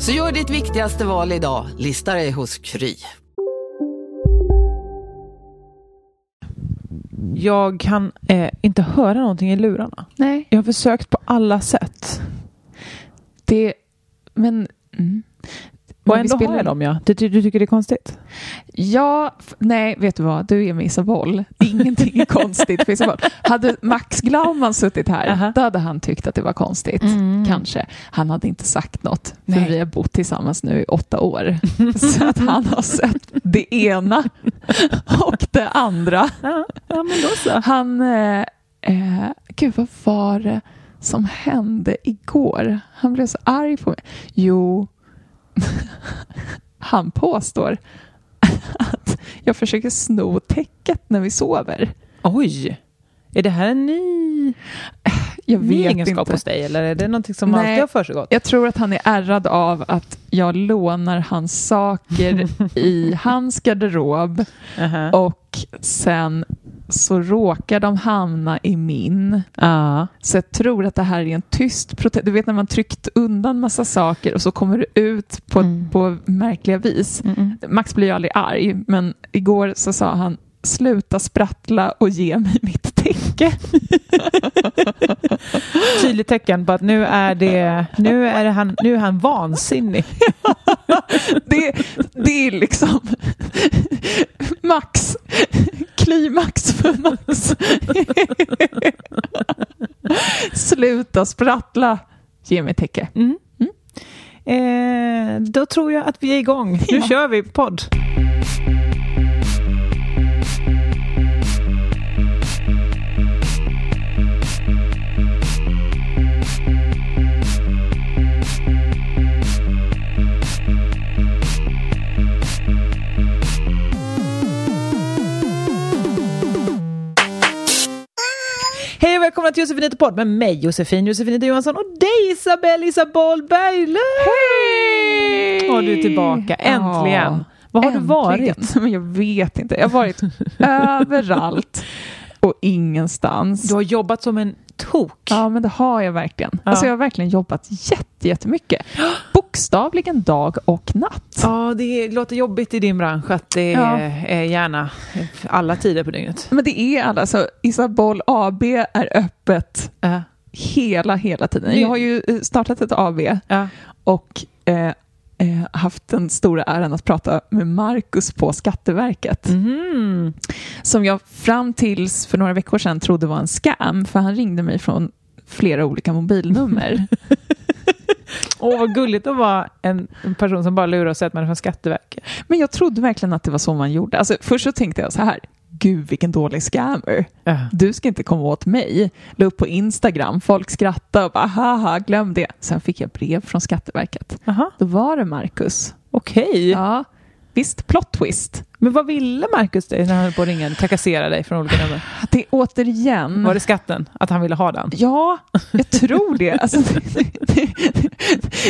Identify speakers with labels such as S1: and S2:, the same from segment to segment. S1: Så gör ditt viktigaste val idag, lista dig hos Kry.
S2: Jag kan eh, inte höra någonting i lurarna.
S3: Nej.
S2: Jag har försökt på alla sätt.
S3: Det, men... Mm.
S2: Och
S3: Men vi
S2: ändå har
S3: spelar-
S2: jag dem ja. Du, ty- du tycker det är konstigt?
S3: Ja, f- nej, vet du vad? Du är med Isabel. Ingenting är konstigt för Isabel. Hade Max Glauman suttit här,
S2: Aha. Mm.
S3: då hade han tyckt att det var konstigt. Kanske. Han hade inte sagt något, för
S2: Nej.
S3: vi har bott tillsammans nu i åtta år. Så att han har sett det ena och det andra.
S2: Ja men då så.
S3: Han... Eh, eh, gud, vad var det som hände igår? Han blev så arg på mig. Jo, han påstår att jag försöker sno täcket när vi sover.
S2: Oj! Är det här en ny,
S3: Jag
S2: ny
S3: vet
S2: egenskap
S3: inte.
S2: hos dig eller är det någonting som
S3: Nej.
S2: alltid har försiggått?
S3: Jag tror att han är ärrad av att jag lånar hans saker i hans garderob
S2: Aha.
S3: och sen så råkar de hamna i min.
S2: Ja.
S3: Så jag tror att det här är en tyst protest. Du vet när man tryckt undan massa saker och så kommer det ut på,
S2: Mm.
S3: på märkliga vis. Max blir ju aldrig arg, men igår så sa han sluta sprattla och ge mig mitt täcke.
S2: Tydligt tecken på att nu är, det, nu är, det han, nu är han vansinnig.
S3: Det, det är liksom Max, klimax för Max. sluta sprattla, ge mig täcke.
S2: Mm. Eh, då tror jag att vi är igång. Nu kör vi podd. Hej och välkomna till Josefinito podd med mig Josefin Josefinito Johansson och dig Isabelle Isabel Berglund! Hej! Och du är tillbaka, äntligen!
S3: Ja,
S2: Vad har du
S3: Äntligen.
S2: varit?
S3: Men jag vet inte. Jag har varit överallt och ingenstans.
S2: Du har jobbat som en tok.
S3: Ja, men det har jag verkligen. Alltså, jag har verkligen jobbat jätte, jättemycket. Bokstavligen dag och natt.
S2: Ja, det låter jobbigt i din bransch att det
S3: Ja.
S2: är gärna alla tider på dygnet.
S3: Men det är alla. alltså, Så Isabol AB är öppet hela, hela tiden. Jag har ju eh, startat ett AB
S2: Ja.
S3: och eh, eh, haft den stora äran att prata med Marcus på Skatteverket.
S2: Mm.
S3: som jag fram tills för några veckor sedan trodde var en scam, för han ringde mig från flera olika mobilnummer.
S2: Och vad gulligt att vara en en person som bara lurar och säger att man är från Skatteverket.
S3: Men jag trodde verkligen att det var så man gjorde. Alltså, först så tänkte jag så här, gud vilken dålig scammer. Du ska inte komma åt mig. La upp på Instagram, folk skrattade och bara haha, glöm det. Sen fick jag brev från Skatteverket.
S2: Aha.
S3: Då var det Marcus.
S2: Okej.
S3: Ja, visst, plot twist.
S2: Men vad ville Marcus dig när han höll på att ringa och trakassera dig från olika nummer?
S3: Det är återigen...
S2: Var det skatten? Att han ville ha den?
S3: Ja, jag tror det. Alltså, det, det,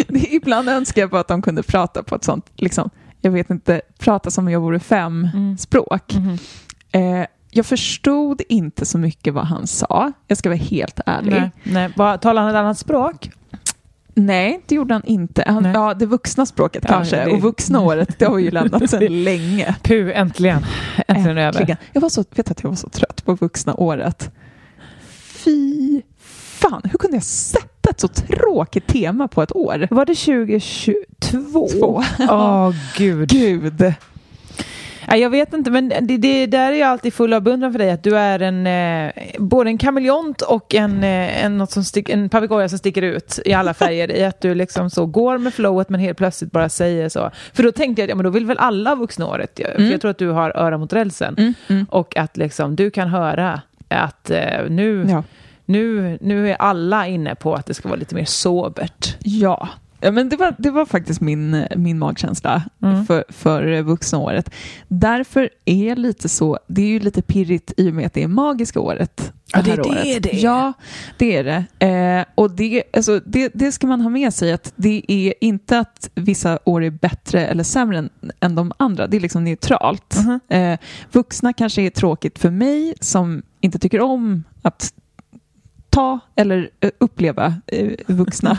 S3: det. Ibland önskar jag bara att de kunde prata på ett sånt, liksom, jag vet inte, prata som om jag vore fem
S2: Mm.
S3: språk.
S2: Mm-hmm.
S3: Eh, jag förstod inte så mycket vad han sa, jag ska vara helt ärlig.
S2: Nej.
S3: Nej,
S2: Nej. Bara, talar han ett annat språk?
S3: det gjorde han inte. Han,
S2: Nej.
S3: ja, det vuxna språket
S2: Ja,
S3: kanske,
S2: det-
S3: och vuxna året, det har vi ju lämnat sedan länge.
S2: Puh, äntligen. Äntligen, över.
S3: Äntligen. Jag var så, vet att jag var så trött på vuxna året. Fy fan, hur kunde jag sätta ett så tråkigt tema på ett år?
S2: Var det 2022?
S3: Två.
S2: Åh, gud.
S3: Gud.
S2: Nej, Jag vet inte, men det, det där är jag alltid full av beundran för dig. Att du är en, eh, både en kameleont och en, eh, en, något som stick, en papegoja som sticker ut i alla färger. I att du liksom så går med flowet men helt plötsligt bara säger så. För då tänkte jag att ja, men då vill väl alla vuxna året. För jag tror att du har öra mot rälsen. Och att liksom, du kan höra att eh, nu,
S3: Ja.
S2: nu, nu är alla inne på att det ska vara lite mer sobert.
S3: Ja, Ja, men det var, det var faktiskt min, min magkänsla
S2: Mm.
S3: för, för vuxna året. Därför är lite så, det är ju lite pirrigt i och med att det är magiska året.
S2: Ja, det är
S3: här
S2: det
S3: året.
S2: det är.
S3: Ja, det är det. Eh, och det, alltså, det, det ska man ha med sig, att det är inte att vissa år är bättre eller sämre än, än de andra. Det är liksom neutralt.
S2: Mhm.
S3: Eh, vuxna kanske är tråkigt för mig som inte tycker om att ta eller eh, uppleva eh, vuxna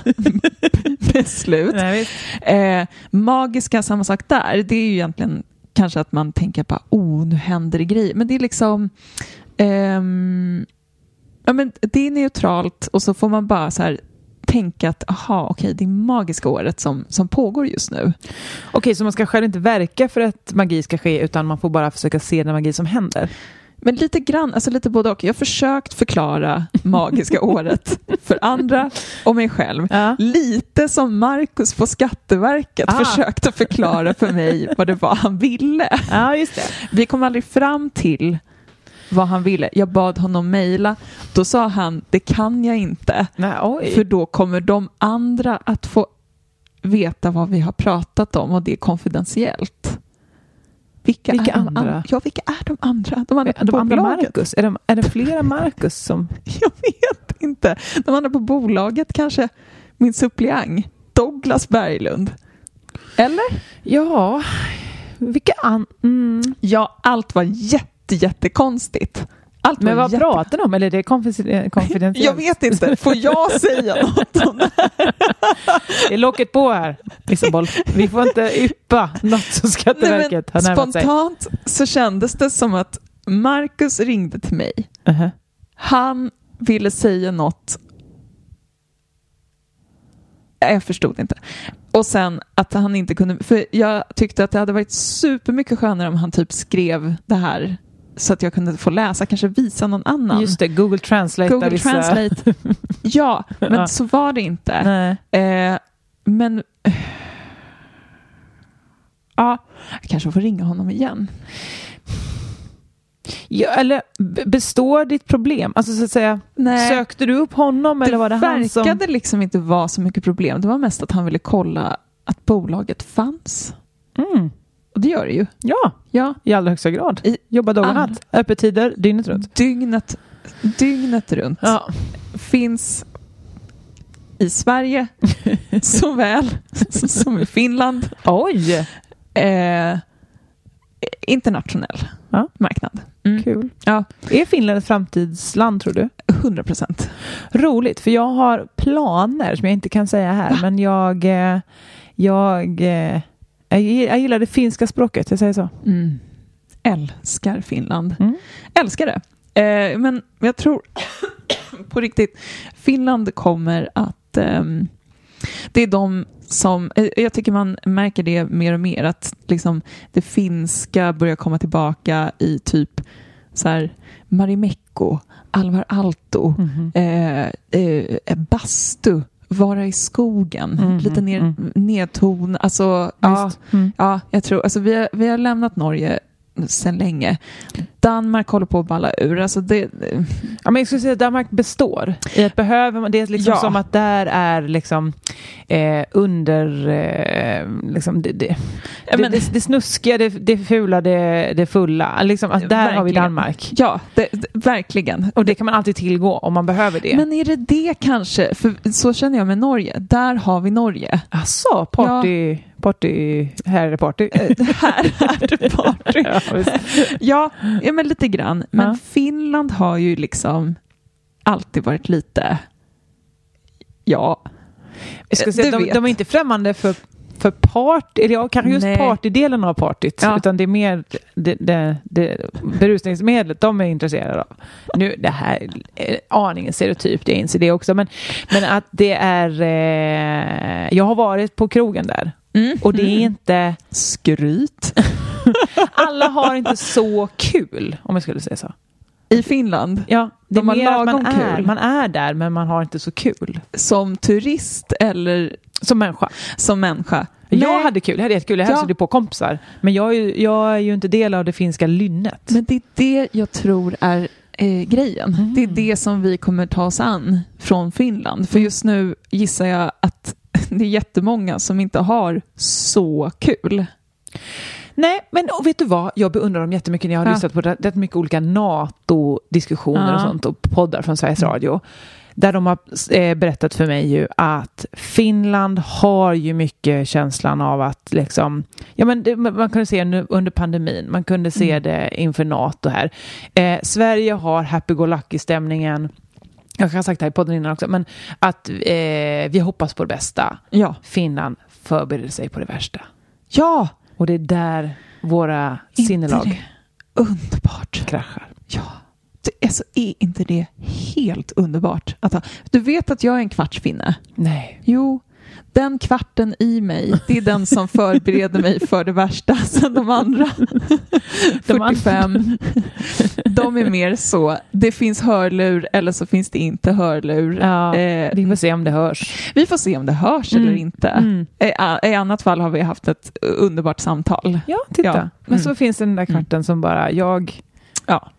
S3: beslut.
S2: Nej, visst.
S3: Eh, magiska, samma sak där. Det är ju egentligen kanske att man tänker på oh, nu händer det grejer. Men det är liksom... ehm, ja, men det är neutralt och så får man bara så här tänka att aha, okej, det är magiska året som, som pågår just nu.
S2: Okej, så man ska själv inte verka för att magi ska ske utan man får bara försöka se den magi som händer?
S3: Men lite grann, alltså lite både och. Jag har försökt förklara magiska året för andra och mig själv.
S2: Ja.
S3: Lite som Markus på Skatteverket
S2: Ah.
S3: försökte förklara för mig vad det var han ville.
S2: Ja, just det.
S3: Vi kom aldrig fram till vad han ville. Jag bad honom mejla. Då sa han, det kan jag inte.
S2: Nej, oj.
S3: För då kommer de andra att få veta vad vi har pratat om och det är konfidentiellt. Vilka,
S2: Vilka
S3: är de an-
S2: andra?
S3: Ja, vilka är de andra? De andra,
S2: de
S3: på
S2: andra
S3: bolaget?
S2: Marcus, är det, är det flera Marcus som...
S3: Jag vet inte. De andra på bolaget kanske. Min suppleant, Douglas Berglund. Eller?
S2: Ja, vilka an... Mm.
S3: Ja, allt var jätte, jättekonstigt. Allt
S2: Men
S3: var
S2: vad
S3: jätte-
S2: pratar de om? Eller är det konfis- eh, konfidentiellt?
S3: Jag vet inte, får jag säga något om det?
S2: Det är locket på här, Isabel. Vi får inte yppa något som
S3: Nej,
S2: Skatteverket
S3: men
S2: har närmat sig.
S3: Spontant så kändes det som att Marcus ringde till mig.
S2: Uh-huh.
S3: Han ville säga något. Nej, Jag förstod inte. Och sen att han inte kunde, för jag tyckte att det hade varit supermycket skönare om han typ skrev det här så att jag kunde få läsa, kanske visa någon annan.
S2: Just det, Google Translate.
S3: Google
S2: där vissa-
S3: Translate. Ja, men
S2: Ja.
S3: så var det inte.
S2: Nej.
S3: Eh, men... Ja, jag kanske får ringa honom igen.
S2: Ja, eller b- består ditt problem? Alltså så att säga,
S3: Nej.
S2: sökte du upp honom eller var det han som...
S3: verkade liksom inte vara så mycket problem. Det var mest att han ville kolla att bolaget fanns.
S2: Mm.
S3: Och det gör det ju.
S2: Ja,
S3: Ja,
S2: i allra högsta grad.
S3: I-
S2: Jobbar dag och
S3: all-
S2: natt, öppettider, dygnet runt.
S3: dygnet, dygnet runt.
S2: Ja.
S3: Finns i Sverige såväl som i Finland.
S2: Oj,
S3: Eh, internationell
S2: Ja.
S3: marknad. Mm.
S2: kul.
S3: Ja,
S2: Är Finland ett framtidsland tror du?
S3: 100 procent.
S2: Roligt, för jag har planer som jag inte kan säga här, men jag, eh, jag, eh, jag gi- jag gillar det finska språket, jag säger så.
S3: Mm. Älskar Finland.
S2: Mm.
S3: Älskar det. Eh, men jag tror på riktigt, Finland kommer att... ehm, det är de som... eh, Jag tycker man märker det mer och mer att liksom, det finska börjar komma tillbaka i typ så här, Marimekko, Alvar Aalto,
S2: Mm-hmm.
S3: eh, eh, bastu, vara i skogen,
S2: Mhm,
S3: lite ner,
S2: mm.
S3: nedton. Alltså, ja,
S2: Visst. Mm.
S3: Ja, jag tror, alltså vi, har, vi har lämnat Norge sedan länge. Danmark håller på att balla ur. Alltså det,
S2: Ja, men jag skulle säga att Danmark består. I att behöver man, det är liksom
S3: Ja.
S2: som att där är liksom eh, under... Eh, liksom det, det,
S3: Ja, men-
S2: det, det, det snuskiga, det, det fula, det, det fulla. Liksom, att där har vi
S3: Verkligen.
S2: Danmark.
S3: ja, det, det, verkligen.
S2: Och det kan man alltid tillgå om man behöver det.
S3: Men är det det kanske? För så känner jag med Norge. Där har vi Norge.
S2: Asså, party, party, här är det party.
S3: Eh, här är det party.
S2: Ja, visst.
S3: Ja, ja men lite grann. Men
S2: Ja.
S3: Finland har ju liksom alltid varit lite... Ja,
S2: jag skulle säga
S3: Eh, Du
S2: att de,
S3: vet.
S2: de är inte främmande för, för party, eller ja, kanske just
S3: Nej.
S2: partydelen av partyt.
S3: Ja.
S2: Utan det är mer det, det, det berusningsmedlet de är intresserade av. Nu, det här är aningen stereotypt, jag inser det också. Men, men att det är...
S3: Mm.
S2: Eh, jag har varit på krogen där. Och det är inte...
S3: skryt.
S2: alla har inte så kul, om jag skulle säga så.
S3: I Finland,
S2: Ja, det
S3: De
S2: är
S3: har
S2: mer att man
S3: lagom
S2: är,
S3: kul.
S2: man är där men man har inte så kul
S3: som turist eller
S2: som människa.
S3: som människa.
S2: Jag
S3: Nej,
S2: hade kul, jag hade jättekul, jag hälsade
S3: Ja.
S2: på kompisar. Men jag är, ju, jag är ju inte del av det finska lynnet.
S3: Men det är det jag tror är eh, grejen.
S2: Mm.
S3: Det är det som vi kommer ta oss an från Finland. För just nu gissar jag att det är jättemånga som inte har så kul.
S2: Nej, men och vet du vad? Jag beundrar dem jättemycket när jag har
S3: Ja.
S2: lyssnat på rätt rätt mycket olika NATO-diskussioner
S3: Ja. Mm.
S2: och sånt och poddar från Sveriges Radio. Där de har eh, berättat för mig ju att Finland har ju mycket känslan av att liksom, ja men det, man man kunde se nu under pandemin, man kunde se
S3: Mm.
S2: det inför NATO här. Eh, Sverige har happy-go-lucky-stämningen, jag kanske har sagt det här i podden innan också, men att eh, vi hoppas på det bästa.
S3: Ja.
S2: Finland förbereder sig på det värsta.
S3: Ja!
S2: Och det är där våra
S3: Inte
S2: sinnelag
S3: det. Underbart.
S2: kraschar.
S3: Ja. Det, alltså, är inte det helt underbart? Att ha, du vet att jag är en kvarts finne?
S2: Nej.
S3: Jo, den kvarten i mig, det är den som förbereder mig för det värsta. Sen de andra,
S2: De andra.
S3: 45, de är mer så. Det finns hörlur eller så finns det inte hörlur.
S2: Ja,
S3: Eh,
S2: Vi får se om det hörs.
S3: vi får se om det hörs
S2: Mm,
S3: eller inte.
S2: mm.
S3: Eh, a- I annat fall har vi haft ett underbart samtal.
S2: Ja, Mm. titta.
S3: Ja.
S2: Men så finns den där kvarten som bara jag,
S3: Ja.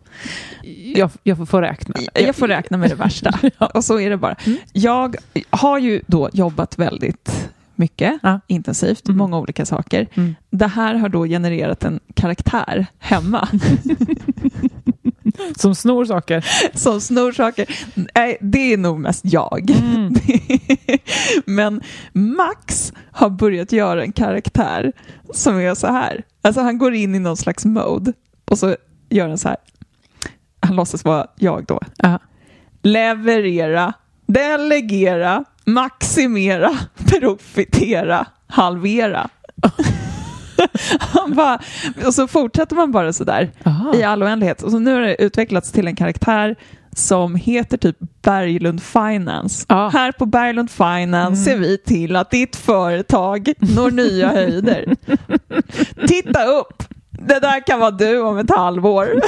S2: jag, jag får- får räkna.
S3: Jag får räkna med det värsta. Och så är det bara.
S2: Mm.
S3: Jag har ju då jobbat väldigt mycket,
S2: Ja.
S3: intensivt,
S2: Mm.
S3: många olika saker.
S2: Mm.
S3: Det här har då genererat en karaktär hemma
S2: Som snor saker.
S3: som snor saker. Nej, det är nog mest jag. Men Max har börjat göra en karaktär som är så här. Alltså han går in i någon slags mode och så gör han så här. Han låtsas vara jag då.
S2: Ja.
S3: Leverera, delegera, maximera, profitera, halvera. han bara, och så fortsätter man bara så där
S2: Aha.
S3: i all oändlighet. Och så nu har det utvecklats till en karaktär som heter typ Berglund Finance.
S2: Ja.
S3: Här på Berglund Finance ser vi till att ditt företag når nya höjder. Titta upp! Det där kan vara du om ett halvår.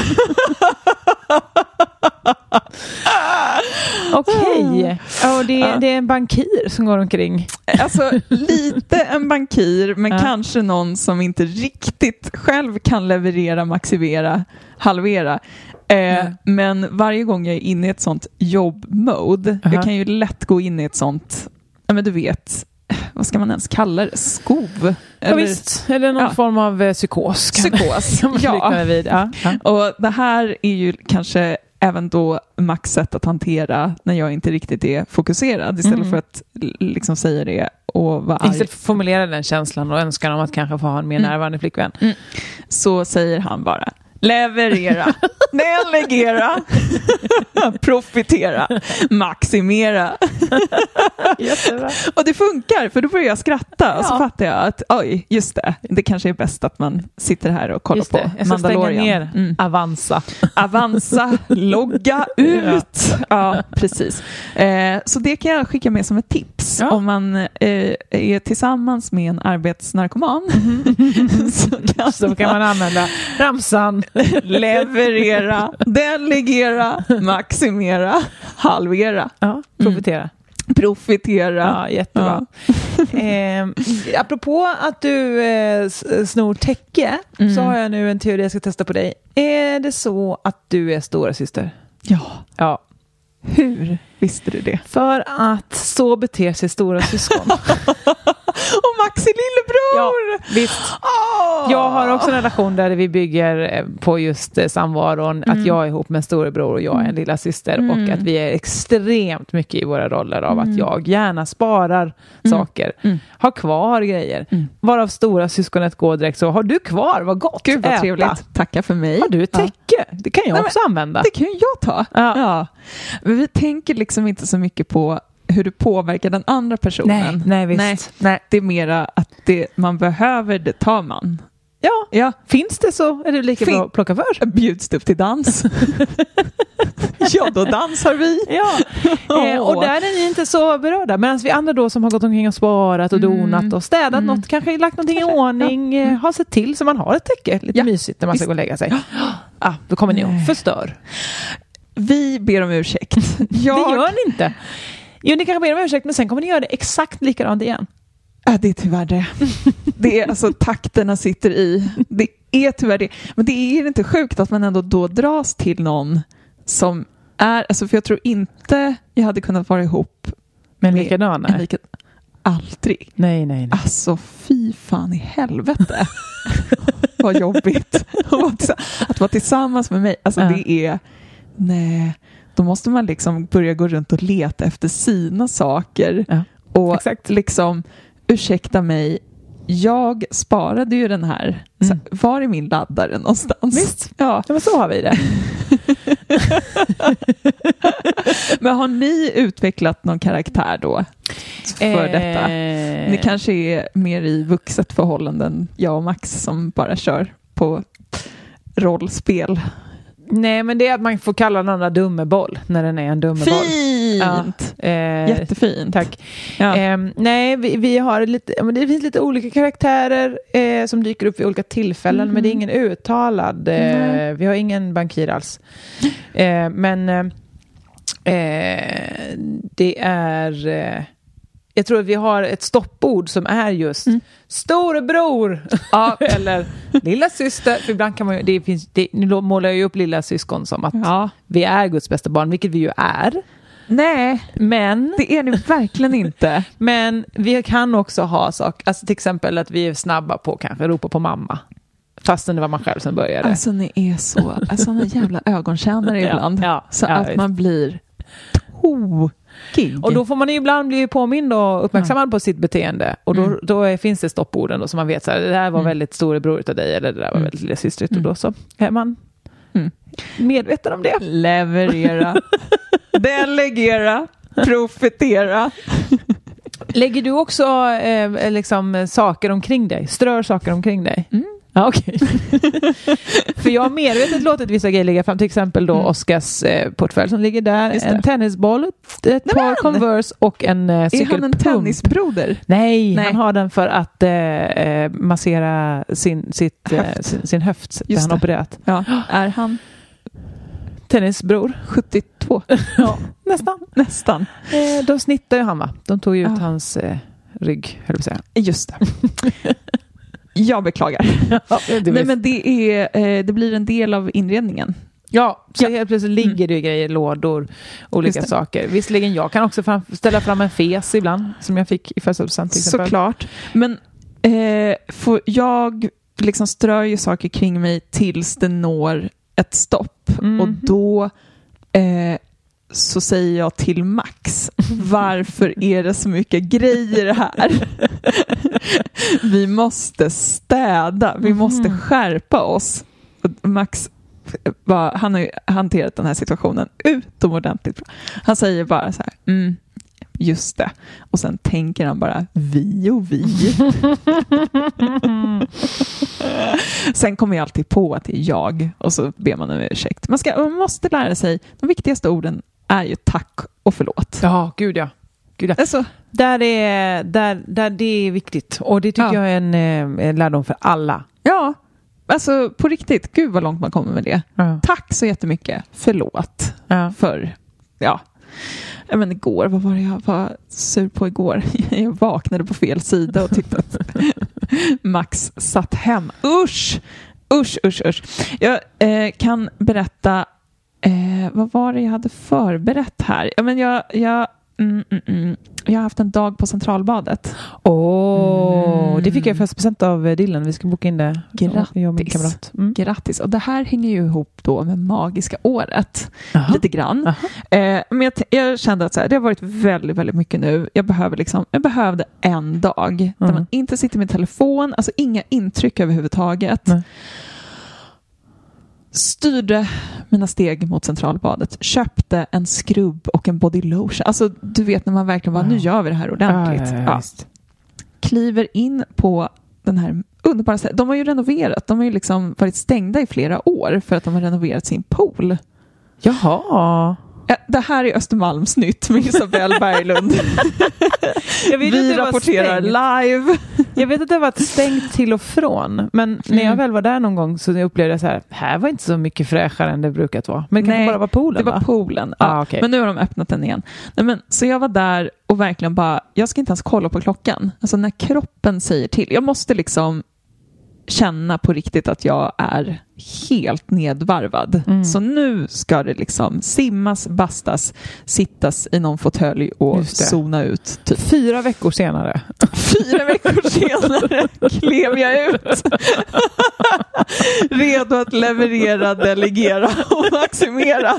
S2: Okej. Ah. Ja, och det, det är en bankir som går omkring.
S3: Alltså lite en bankir men
S2: Ja.
S3: kanske någon som inte riktigt själv kan leverera, maximera, halvera. Eh, Men varje gång jag är inne i ett sånt jobb-mode,
S2: Aha.
S3: jag kan ju lätt gå in i ett sånt, ja men du vet, vad ska man ens kalla det, skov?
S2: Ja, visst. Eller någon
S3: Ja.
S2: form av eh, psykos. kan-
S3: Psykos.
S2: Kan man
S3: Ja.
S2: likna det vid. Ja. Ja.
S3: Och det här är ju kanske även då Max sätt att hantera när jag inte riktigt är fokuserad istället
S2: Mm.
S3: för att l- liksom säga det och vara arg.
S2: Istället för att formulera den känslan och önskan om att kanske få ha en mer
S3: Mm.
S2: närvarande flickvän.
S3: så säger han bara leverera, delegera, profitera, maximera.
S2: Jättebra.
S3: Och det funkar, för då börjar jag skratta och så fattar jag att oj, just det, det kanske är bäst att man sitter här och kollar
S2: Just
S3: på
S2: det. Jag ska stänga
S3: Mandalorian.
S2: ner
S3: Mm.
S2: Avanza.
S3: Avanza, logga ut. Ja, precis. Eh, så det kan jag skicka med som ett tips
S2: Ja.
S3: om man eh, är tillsammans med en arbetsnarkoman. så kan
S2: Så kan man använda ramsan.
S3: leverera, delegera, maximera, halvera, Mm.
S2: Ja, profitera.
S3: profitera.
S2: Ja, jättebra. eh, apropå att du eh, s- snor täcke så har jag nu en teori jag ska testa på dig. Är det så att du är stora syster?
S3: Ja,
S2: Ja.
S3: hur visste du det?
S2: För att så beter sig stora syskon.
S3: Och Max är lillebror!
S2: Ja, visst.
S3: Åh!
S2: Jag har också en relation där vi bygger eh, på just eh, samvaron,
S3: Mm.
S2: att jag är ihop med en storebror och jag är en lilla syster och att vi är extremt mycket i våra roller av
S3: Mm.
S2: att jag gärna sparar saker, har kvar grejer,
S3: Mm.
S2: varav stora syskonet går direkt så, har du kvar, vad gott,
S3: Gud vad
S2: äta.
S3: trevligt. Tacka för mig.
S2: Har du ett
S3: Ja.
S2: täcke? Det kan jag
S3: Nej, men-
S2: också använda.
S3: Det kan ju jag ta.
S2: Ja.
S3: Men vi tänker liksom inte så mycket på hur du påverkar den andra personen.
S2: nej, visst.
S3: Nej, det är mera att det man behöver, det tar man.
S2: Ja,
S3: Ja.
S2: finns det så är det lika
S3: Fin-
S2: bra att plocka för.
S3: Bjuds det upp till dans? ja, då dansar vi.
S2: Ja, eh, och där är ni inte så berörda. Medan vi andra då som har gått omkring och sparat och donat och städat något, Mm. kanske lagt någonting i ordning, eh, har sett till så man har ett täcke. Lite
S3: Ja,
S2: mysigt när man ska gå och lägga sig. Ah, då kommer ni och förstör.
S3: Vi ber om ursäkt.
S2: Det gör ni inte. Jo, ni kanske ber om ursäkt, men sen kommer ni göra det exakt likadant igen.
S3: Ja, det är tyvärr det. Det är alltså takterna sitter i. Det är tyvärr det. Men det är inte sjukt att man ändå då dras till någon som är, alltså för jag tror inte jag hade kunnat vara ihop
S2: Men
S3: Med-
S2: likadana?
S3: en lika, aldrig.
S2: Nej, nej, nej.
S3: Alltså fy fan i helvete. vad jobbigt att vara tillsa- att vara tillsammans med mig. Alltså
S2: Ja.
S3: det är, nej. Då måste man liksom börja gå runt och leta efter sina saker.
S2: Ja,
S3: Och
S2: exakt.
S3: liksom, ursäkta mig, jag sparade ju den här.
S2: Mm.
S3: Så, var är min laddare någonstans?
S2: Visst.
S3: Ja.
S2: Ja, men så har vi det.
S3: Men har ni utvecklat någon karaktär då? För detta?
S2: Eh,
S3: Ni kanske är mer i vuxet förhållande än jag och Max som bara kör på rollspel.
S2: Nej, men det är att man får kalla den andra dummeboll när den är en dummeboll.
S3: Fint!
S2: Eh,
S3: Jättefint.
S2: Tack.
S3: Ja.
S2: Ehm, nej, vi, vi har lite, ja, men det finns lite olika karaktärer eh, som dyker upp vid olika tillfällen, men det är ingen uttalad. Eh,
S3: Mm. Nej.
S2: vi har ingen bankir alls. Eh, men eh, eh, det är... Eh, jag tror att vi har ett stoppord som är just
S3: Mm.
S2: storebror eller lilla syster. För ibland kan man ju, det finns, det, nu lo- målar jag ju upp lilla syskon som att
S3: Ja.
S2: vi är Guds bästa barn, vilket vi ju är.
S3: Nej,
S2: Men
S3: det är ni verkligen inte.
S2: men vi kan också ha saker, alltså till exempel att vi är snabba på att kanske ropa på mamma. Fastän det var man själv som började.
S3: Alltså ni är så, alltså ni är jävla ögontjänare
S2: Ja,
S3: ibland.
S2: ja,
S3: så
S2: ja,
S3: att
S2: visst.
S3: man blir tokig.
S2: och då får man ju ibland bli påmind och uppmärksammad på sitt beteende. Och
S3: Mm.
S2: då, då är, finns det stopporden då, som man vet så här, det där var väldigt storebror utav dig eller det där var väldigt lillasystrigt. Och då så är man
S3: Mm.
S2: medveten om det.
S3: Leverera, delegera, profitera.
S2: Lägger du också eh, liksom, eh, saker omkring dig? Strör saker omkring dig?
S3: Mm.
S2: Ja, okej. För jag har medvetet låtit vissa grejer ligga fram, till exempel då Oscars eh, portfölj som ligger där,
S3: Mm. Just det.
S2: en tennisboll, ett ett
S3: Nej, men!
S2: par Converse och en eh,
S3: Är han en
S2: cykelpump.
S3: tennisbroder?
S2: Nej,
S3: Nej.
S2: han har den för att eh, eh, massera sin, sitt, eh,
S3: Höft.
S2: sin, sin höft, där
S3: Just
S2: han
S3: det.
S2: opererat.
S3: Ja. Är han
S2: Tennisbror,
S3: 72?
S2: nästan.
S3: Nästan.
S2: Eh, de snittade ju han va? De tog ju ut
S3: Ja.
S2: hans eh, rygg, höll jag på att säga.
S3: Just det. Jag beklagar. Nej, men det, är, eh, det blir en del av inredningen.
S2: Ja, så
S3: Ja.
S2: helt plötsligt ligger det ju grejer, lådor, olika
S3: Just det.
S2: saker. Visserligen, jag kan också fram, ställa fram en fes ibland, som jag fick i födelsedagspresent till exempel.
S3: Såklart. Men eh, får jag liksom strör ju saker kring mig tills det når ett stopp.
S2: Mhm.
S3: Och då eh, så säger jag till Max, varför är det så mycket grejer här? vi måste städa, vi måste skärpa oss. Och Max, eh, bara, han har ju hanterat den här situationen utomordentligt bra. Han säger bara så här, mm, just det. Och sen tänker han bara, vi och vi. sen kommer jag alltid på att det är jag och så ber man om ursäkt. Man, ska, man måste lära sig, de viktigaste orden är ju tack och förlåt.
S2: Ja, gud ja. Gud, ja.
S3: Alltså,
S2: Där är, där, där, det är viktigt och det tycker
S3: Ja.
S2: jag är en, eh, en lärdom för alla.
S3: ja, alltså på riktigt, gud vad långt man kommer med det.
S2: Ja.
S3: Tack så jättemycket, förlåt
S2: Ja.
S3: för, ja. Ja, Men igår, vad var det jag var sur på igår? Jag vaknade på fel sida och tyckte att Max satt hem. Usch! Usch, usch, usch. Jag eh, kan berätta, eh, vad var det jag hade förberett här? Ja, men jag, jag, mm, mm, mm. jag har haft en dag på Centralbadet.
S2: Åh,
S3: Mm.
S2: Det fick jag i födelsedagspresent av eh, Dylan, vi ska boka in det.
S3: Grattis.
S2: Jag och min kamrat. Mm.
S3: Grattis! Och det här hänger ju ihop då med Magiska året.
S2: Jaha.
S3: lite grann.
S2: Aha.
S3: Eh, men jag, t- jag kände att så här, det har varit väldigt, väldigt mycket nu. Jag, behöver liksom, jag behövde en dag där
S2: Mm.
S3: man inte sitter med telefon, alltså inga intryck överhuvudtaget.
S2: Nej.
S3: Styrde mina steg mot Centralbadet, köpte en skrubb och en body lotion. Alltså du vet när man verkligen bara,
S2: Ja.
S3: nu gör vi det här ordentligt.
S2: Ja, ja, ja,
S3: Ja.
S2: visst.
S3: Kliver in på den här underbara ställen. De har ju renoverat. De har ju liksom varit stängda i flera år för att de har renoverat sin pool.
S2: Jaha.
S3: Ja, Det här är Östermalms nytt med Isabelle Berglund.
S2: Jag vet att
S3: Vi
S2: det var
S3: rapporterar
S2: stängt.
S3: live.
S2: Jag vet att det har varit stängt till och från. Men när jag
S3: Mm.
S2: väl var där någon gång så upplevde jag så här, här var inte så mycket fräschare än det brukat vara. Men det kanske
S3: Nej,
S2: bara var poolen
S3: Det var
S2: va?
S3: poolen. Ja.
S2: Ah, okej.
S3: Men nu har de öppnat den igen. Nej, men, så jag var där och verkligen bara, jag ska inte ens kolla på klockan. Alltså när kroppen säger till. Jag måste liksom känna på riktigt att jag är helt nedvarvad.
S2: Mm.
S3: Så nu ska det liksom simmas, bastas, sittas i någon fåtölj och
S2: Just det.
S3: zona ut. Typ.
S2: Fyra veckor senare.
S3: Fyra veckor senare klev jag ut. Redo att leverera, delegera och maximera.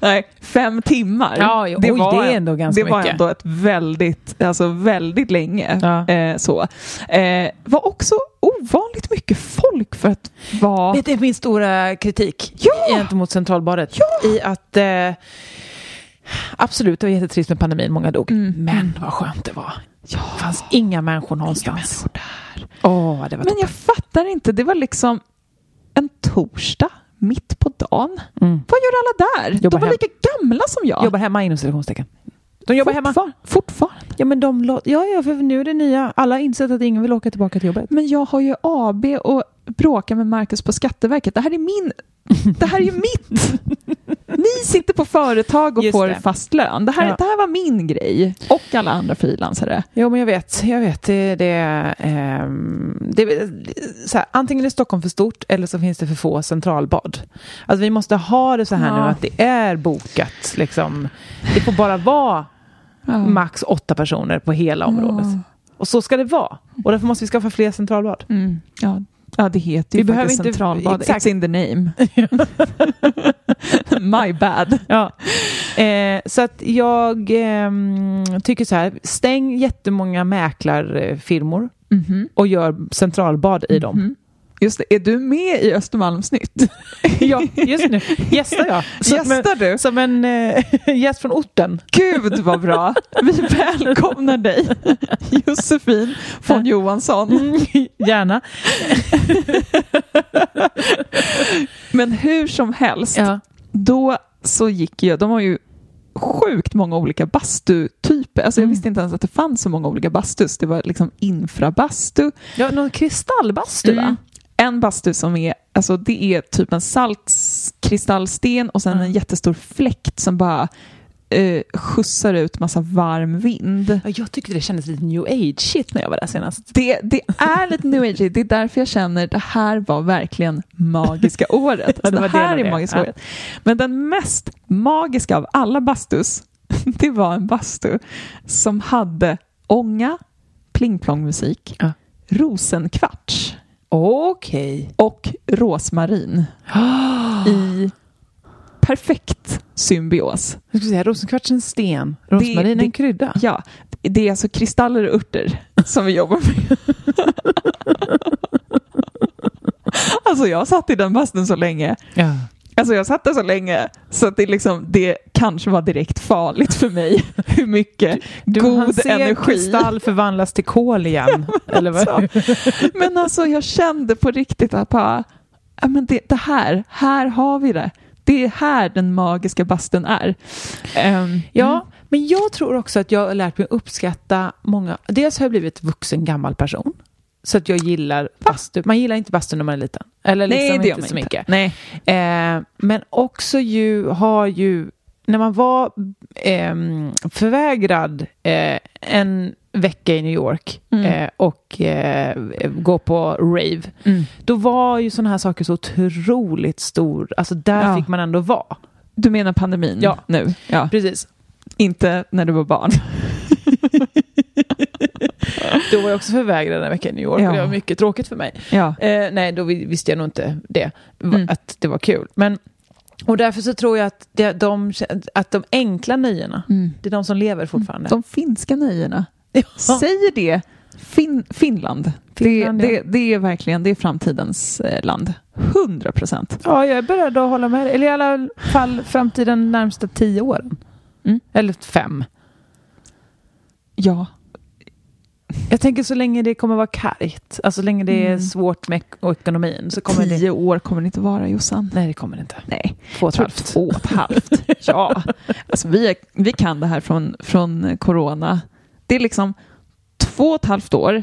S3: Nej, fem timmar.
S2: Ja, jo, oj, det är
S3: en-
S2: ändå ganska
S3: det var
S2: mycket.
S3: ändå ett väldigt, alltså väldigt länge.
S2: Ja.
S3: Eh, så. Eh, var också ovanligt mycket folk för att vara...
S2: Vet du min stora kritik
S3: Ja!
S2: gentemot centralbadet? I att eh, absolut, det var jättetrist med pandemin, många dog.
S3: Mm.
S2: Men vad skönt det var. Det fanns inga människor någonstans.
S3: människor
S2: Åh, det var
S3: Men jag fattar inte, det var liksom en torsdag mitt på dagen.
S2: Mm.
S3: Vad gör alla där?
S2: Jobbar
S3: de var
S2: hem.
S3: lika gamla som jag.
S2: Jobbar hemma inom citationstecken. De jobbar hemma.
S3: Fortfar- Fortfarande.
S2: Ja, men de lå- ja, ja, för nu är det nya. Alla har insett att ingen vill åka tillbaka till jobbet.
S3: Men jag har ju AB och bråkar med Marcus på Skatteverket. Det här är min... Det här är ju mitt! Ni sitter på företag och
S2: Just
S3: får
S2: det.
S3: fast lön. Det här,
S2: Ja.
S3: det här var min grej. Och alla andra frilansare.
S2: Jo, men jag vet. Jag vet. Det, det, ehm, det, så här, antingen är Stockholm för stort eller så finns det för få centralbad. Alltså, vi måste ha det så här
S3: Ja.
S2: nu att det är bokat. Liksom. Det får bara vara
S3: Mm.
S2: max åtta personer på hela området. Och så ska det vara. Och därför måste vi skaffa fler centralbad.
S3: Mm. Ja. ja, det heter
S2: Vi
S3: ju
S2: behöver
S3: faktiskt
S2: inte-
S3: centralbad.
S2: exakt.
S3: It's in the name. My bad.
S2: Ja. Eh, så att jag ehm, tycker så här, stäng jättemånga mäklarfirmor
S3: Mhm.
S2: och gör centralbad i dem.
S3: Mhm. Just det, är du med i Östermalms nytt?
S2: Ja, just nu. Gästar jag. Så att-
S3: Gästar du?
S2: Som en eh, gäst från orten.
S3: Gud vad bra! Vi välkomnar dig Josefin von Johansson.
S2: Gärna.
S3: Men hur som helst,
S2: Ja.
S3: då så gick jag, de har ju sjukt många olika bastutyper. Alltså jag
S2: Mm.
S3: visste inte ens att det fanns så många olika bastus. Det var liksom infrabastu,
S2: ja, någon kristallbastu
S3: Mm.
S2: va?
S3: en bastu som är, alltså det är typ en saltkristallsten och sen
S2: Mm.
S3: en jättestor fläkt som bara eh, skjutsar ut massa varm vind.
S2: Ja, jag tyckte det kändes lite new age-shit när jag var där senast.
S3: Det, det är lite new age, det är därför jag känner det här var verkligen magiska året.
S2: Ja,
S3: Alltså,
S2: det
S3: det,
S2: var det
S3: här
S2: nog det.
S3: är magiska
S2: Ja.
S3: året. Men den mest magiska av alla bastus, det var en bastu som hade ånga, plingplongmusik,
S2: Ja.
S3: rosenkvarts
S2: Okej.
S3: och rosmarin i perfekt symbios.
S2: Jag skulle säga rosenkvarts är en sten, rosmarin är
S3: det-
S2: en krydda.
S3: Ja, det är alltså kristaller och örter som vi jobbar med. Alltså jag satt i den bastun så länge.
S2: Ja.
S3: Alltså jag satt där så länge så att det, liksom, det kanske var direkt farligt för mig hur mycket
S2: Du, han
S3: god
S2: ser
S3: energi.
S2: kristall förvandlas till kol igen. eller vad?
S3: Så. Men alltså jag kände på riktigt att bara, ja, men det, det här, här har vi det. Det är här den magiska bastun är. Ehm,
S2: Ja, men jag tror också att jag har lärt mig uppskatta många... Dels har jag blivit vuxen gammal person. Så att jag gillar bastu. Man gillar inte bastu när man är liten. Eller liksom
S3: Nej, det gör
S2: inte
S3: man
S2: så
S3: inte.
S2: mycket.
S3: Nej.
S2: Eh, men också ju har ju... När man var ehm, förvägrad eh, en vecka i New York
S3: Mm.
S2: eh, och eh, gå på rave, då var ju sådana här saker så otroligt stor. Alltså där
S3: Ja.
S2: fick man ändå vara.
S3: Du menar pandemin
S2: Ja.
S3: nu? Ja.
S2: Precis.
S3: Inte när du var barn.
S2: Då var jag också förvägrad en vecka i New York och
S3: Ja.
S2: det var mycket tråkigt för mig.
S3: Ja.
S2: Eh, nej, då vi- visste jag nog inte det, va-
S3: Mm.
S2: att det var kul. Men, och därför så tror jag att, det, de, att de enkla nöjena, det är de som lever fortfarande.
S3: Mm. De finska nöjena.
S2: Ja.
S3: Säger det fin- Finland.
S2: Finland,
S3: det,
S2: ja.
S3: det, det är verkligen det är framtidens eh, land. 100 procent.
S2: Ja, jag är beredd att hålla med dig. Eller i alla fall framtiden närmsta tio åren.
S3: Mm.
S2: Eller fem.
S3: Ja.
S2: Jag tänker så länge det kommer vara kargt, alltså så länge det är
S3: Mm.
S2: svårt med ek- och ekonomin så kommer det...
S3: Tio år kommer det inte vara Jossan.
S2: Nej, det kommer det inte.
S3: Nej,
S2: Två och ett
S3: tror
S2: halvt.
S3: två och ett halvt. ja, alltså vi, är, vi kan det här från, från corona. Det är liksom två och ett halvt år.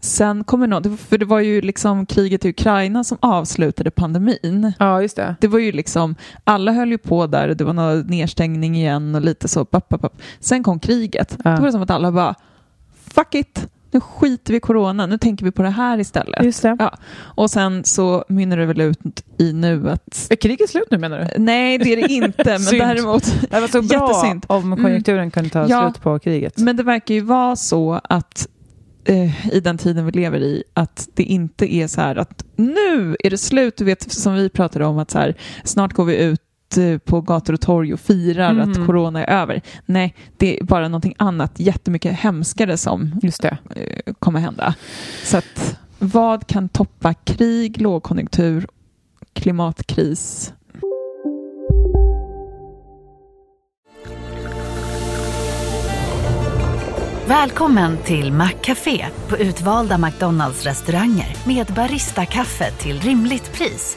S3: Sen kommer någon, för det var ju liksom kriget i Ukraina som avslutade pandemin.
S2: Ja, just det.
S3: Det var ju liksom, alla höll ju på där och det var någon nedstängning igen och lite så. Papp, papp, papp. Sen kom kriget.
S2: Ja.
S3: Då var det som att alla bara, fuck it, nu skiter vi i corona, nu tänker vi på det här istället.
S2: Just det.
S3: Och sen så mynnar det väl ut i nu att
S2: Är kriget slut nu menar du?
S3: Nej, det är det inte, men
S2: Synd.
S3: däremot...
S2: Det var så bra
S3: Jättesynd.
S2: om konjunkturen kunde ta
S3: Ja.
S2: slut på kriget.
S3: Men det verkar ju vara så att eh, i den tiden vi lever i, att det inte är så här att nu är det slut, du vet som vi pratade om att så här, snart går vi ut eh, på gator och torg och firar
S2: Mm.
S3: att corona är över. Nej, det är bara någonting annat jättemycket hemskare som
S2: Just det.
S3: eh, kommer hända. Så att vad kan toppa krig, lågkonjunktur, klimatkris?
S4: Välkommen till Maccafé på utvalda McDonalds restauranger med Baristakaffe till rimligt pris.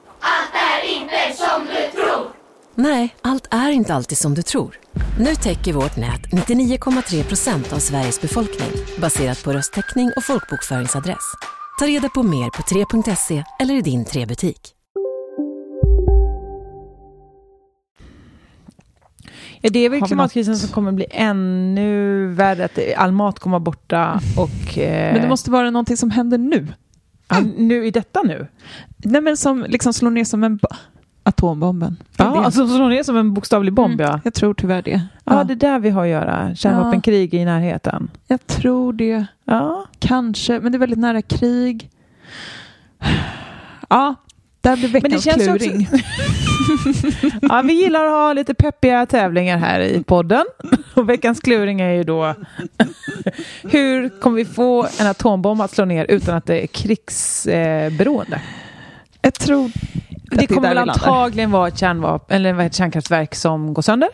S5: Nej, allt är inte alltid som du tror. Nu täcker vårt nät 99,3 procent av Sveriges befolkning baserat på röstteckning och folkbokföringsadress. Ta reda på mer på 3.se eller i din 3-butik.
S2: Ja, det är väl
S3: Har vi
S2: klimatkrisen
S3: något?
S2: som kommer bli ännu värre, att det- all mat kommer borta och... Eh,
S3: Men det måste vara någonting som händer nu.
S2: ja, nu i detta nu?
S3: Nej men som liksom slår ner som en bo- atombomben. Det är
S2: Ja,
S3: det.
S2: alltså slår ner som en bokstavlig bomb ja.
S3: Jag tror tyvärr det.
S2: Mm. Ja,
S3: Ja,
S2: det är där vi har att göra. Kärnvapenkrig i närheten.
S3: Jag tror det.
S2: Ja.
S3: Kanske, men det är väldigt nära krig. Ja, där blir veckans
S2: Men det känns ju också-
S3: kluring.
S2: ja, vi gillar att ha lite peppiga tävlingar här i podden. Och veckans kluring är ju då hur kommer vi få en atombomb att slå ner utan att det är krigsberoende?
S3: Jag tror att
S2: Det
S3: är där
S2: kommer väl
S3: vi landar.
S2: antagligen vara ett, kärnvapen, eller vad heter, det, kärnkraftverk som går sönder.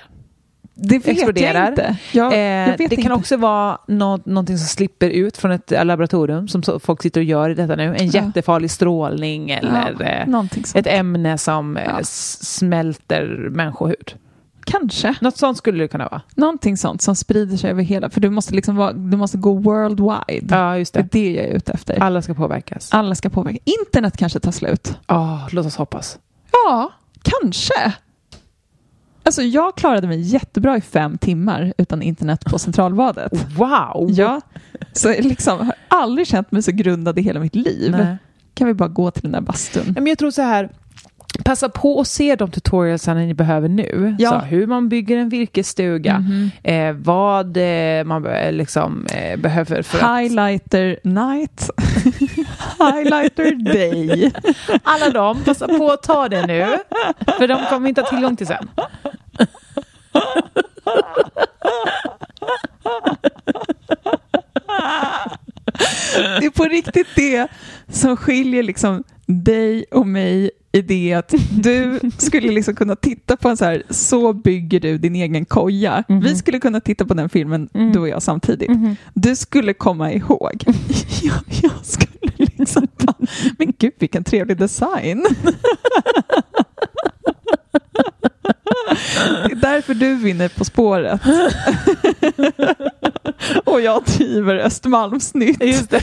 S3: Det vet
S2: explodera.
S3: jag inte. Jag,
S2: Eh,
S3: jag vet
S2: det
S3: inte.
S2: kan också vara nå- någonting som slipper ut från ett eh, laboratorium som så, folk sitter och gör i detta nu. En
S3: Ja.
S2: jättefarlig strålning eller
S3: ja,
S2: eh,
S3: någonting sånt.
S2: ett ämne som eh,
S3: Ja.
S2: s- smälter människohud.
S3: Kanske.
S2: Något sånt skulle det kunna vara.
S3: Någonting sånt som sprider sig över hela. För du måste, liksom vara, du måste gå worldwide.
S2: Ja, just
S3: Det är
S2: det.
S3: det jag är ute efter.
S2: Alla ska påverkas.
S3: Alla ska påverka. Internet kanske tar slut.
S2: Ah, låt oss hoppas.
S3: Ja, kanske. Alltså jag klarade mig jättebra i fem timmar utan internet på centralbadet.
S2: Oh. Wow!
S3: Ja, så liksom, jag har aldrig känt mig så grundad i hela mitt liv.
S2: Nej.
S3: Kan vi bara gå till den där bastun?
S2: Men jag tror så här, passa på att se de tutorialsarna ni behöver nu.
S3: Ja. Mm.
S2: Så hur man bygger en virkesstuga,
S3: Mm-hmm.
S2: eh, vad eh, man be- liksom, eh, behöver för att...
S3: Highlighter night, highlighter day.
S2: Alla dem, passa på att ta det nu. För de kommer inte ha tillgång till sen.
S3: Det är på riktigt det som skiljer liksom dig och mig i det att du skulle liksom kunna titta på en så här, så bygger du din egen koja. Vi skulle kunna titta på den filmen, du och jag samtidigt. Du skulle komma ihåg. Jag, jag skulle liksom bara, men gud vilken trevlig design. Det är därför du vinner På spåret. Och jag driver Östermalmsnytt.
S2: Just det.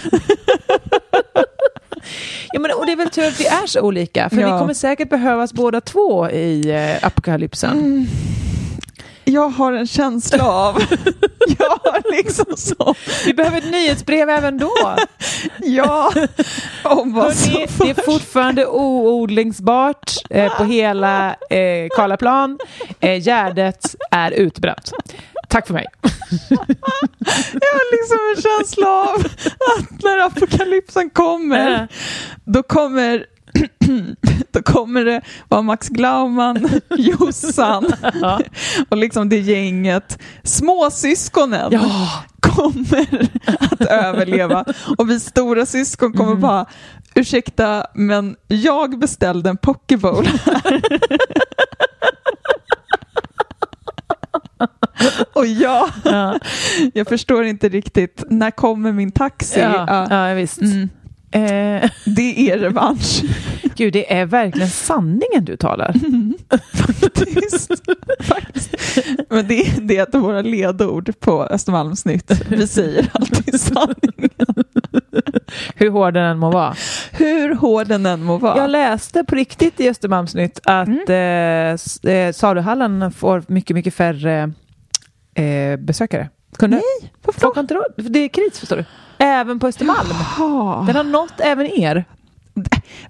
S2: Ja, men, och det är väl tur att vi är så olika, för
S3: Ja.
S2: vi kommer säkert behövas båda två i eh, apokalypsen.
S3: Mm. Jag har en känsla av... jag har liksom så...
S2: Vi behöver ett nyhetsbrev även då.
S3: Ja, om vad som...
S2: Hörrni, det är fortfarande oodlingsbart eh, på hela eh, Karlaplan. Eh, Gärdet är utbränt. Tack för mig.
S3: Jag har liksom en känsla av att när apokalypsen kommer, då kommer då kommer det vara Max Glauman, Jossan och liksom det gänget. Småsyskonen kommer att överleva och vi stora syskon kommer bara ursäkta men jag beställde en pokebowl här." Och ja,
S2: Ja.
S3: jag förstår inte riktigt, när kommer min taxi?
S2: Ja,
S3: Ja.
S2: ja visst.
S3: Mm.
S2: Eh,
S3: Det är revansch.
S2: gud, det är verkligen sanningen du talar.
S3: Faktiskt. Faktiskt. Men det är det är ett av våra ledord på Östermalmsnytt. Vi säger alltid sanning.
S2: Hur hård den än må vara.
S3: Hur hård den än må vara. Mm.
S2: Jag läste på riktigt i Östermalmsnytt att eh, s- eh, saluhallen får mycket, mycket färre eh, besökare. Kunde? Nej, varför Folk har inte råd. För Det är kris, förstår du. Även på Östermalm.
S3: Jaha.
S2: Den har nått även er.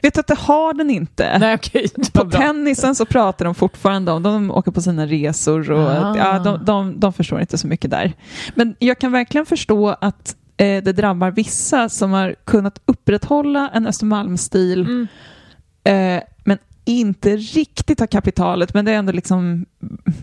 S3: Vet du att det har den inte?
S2: Nej, okej.
S3: På tennisen så pratar de fortfarande om, de åker på sina resor och
S2: Ah.
S3: ja, de, de, de förstår inte så mycket där. Men jag kan verkligen förstå att eh, det drabbar vissa som har kunnat upprätthålla en Östermalmsstil
S2: Mm.
S3: eh, men inte riktigt har kapitalet, men det är ändå liksom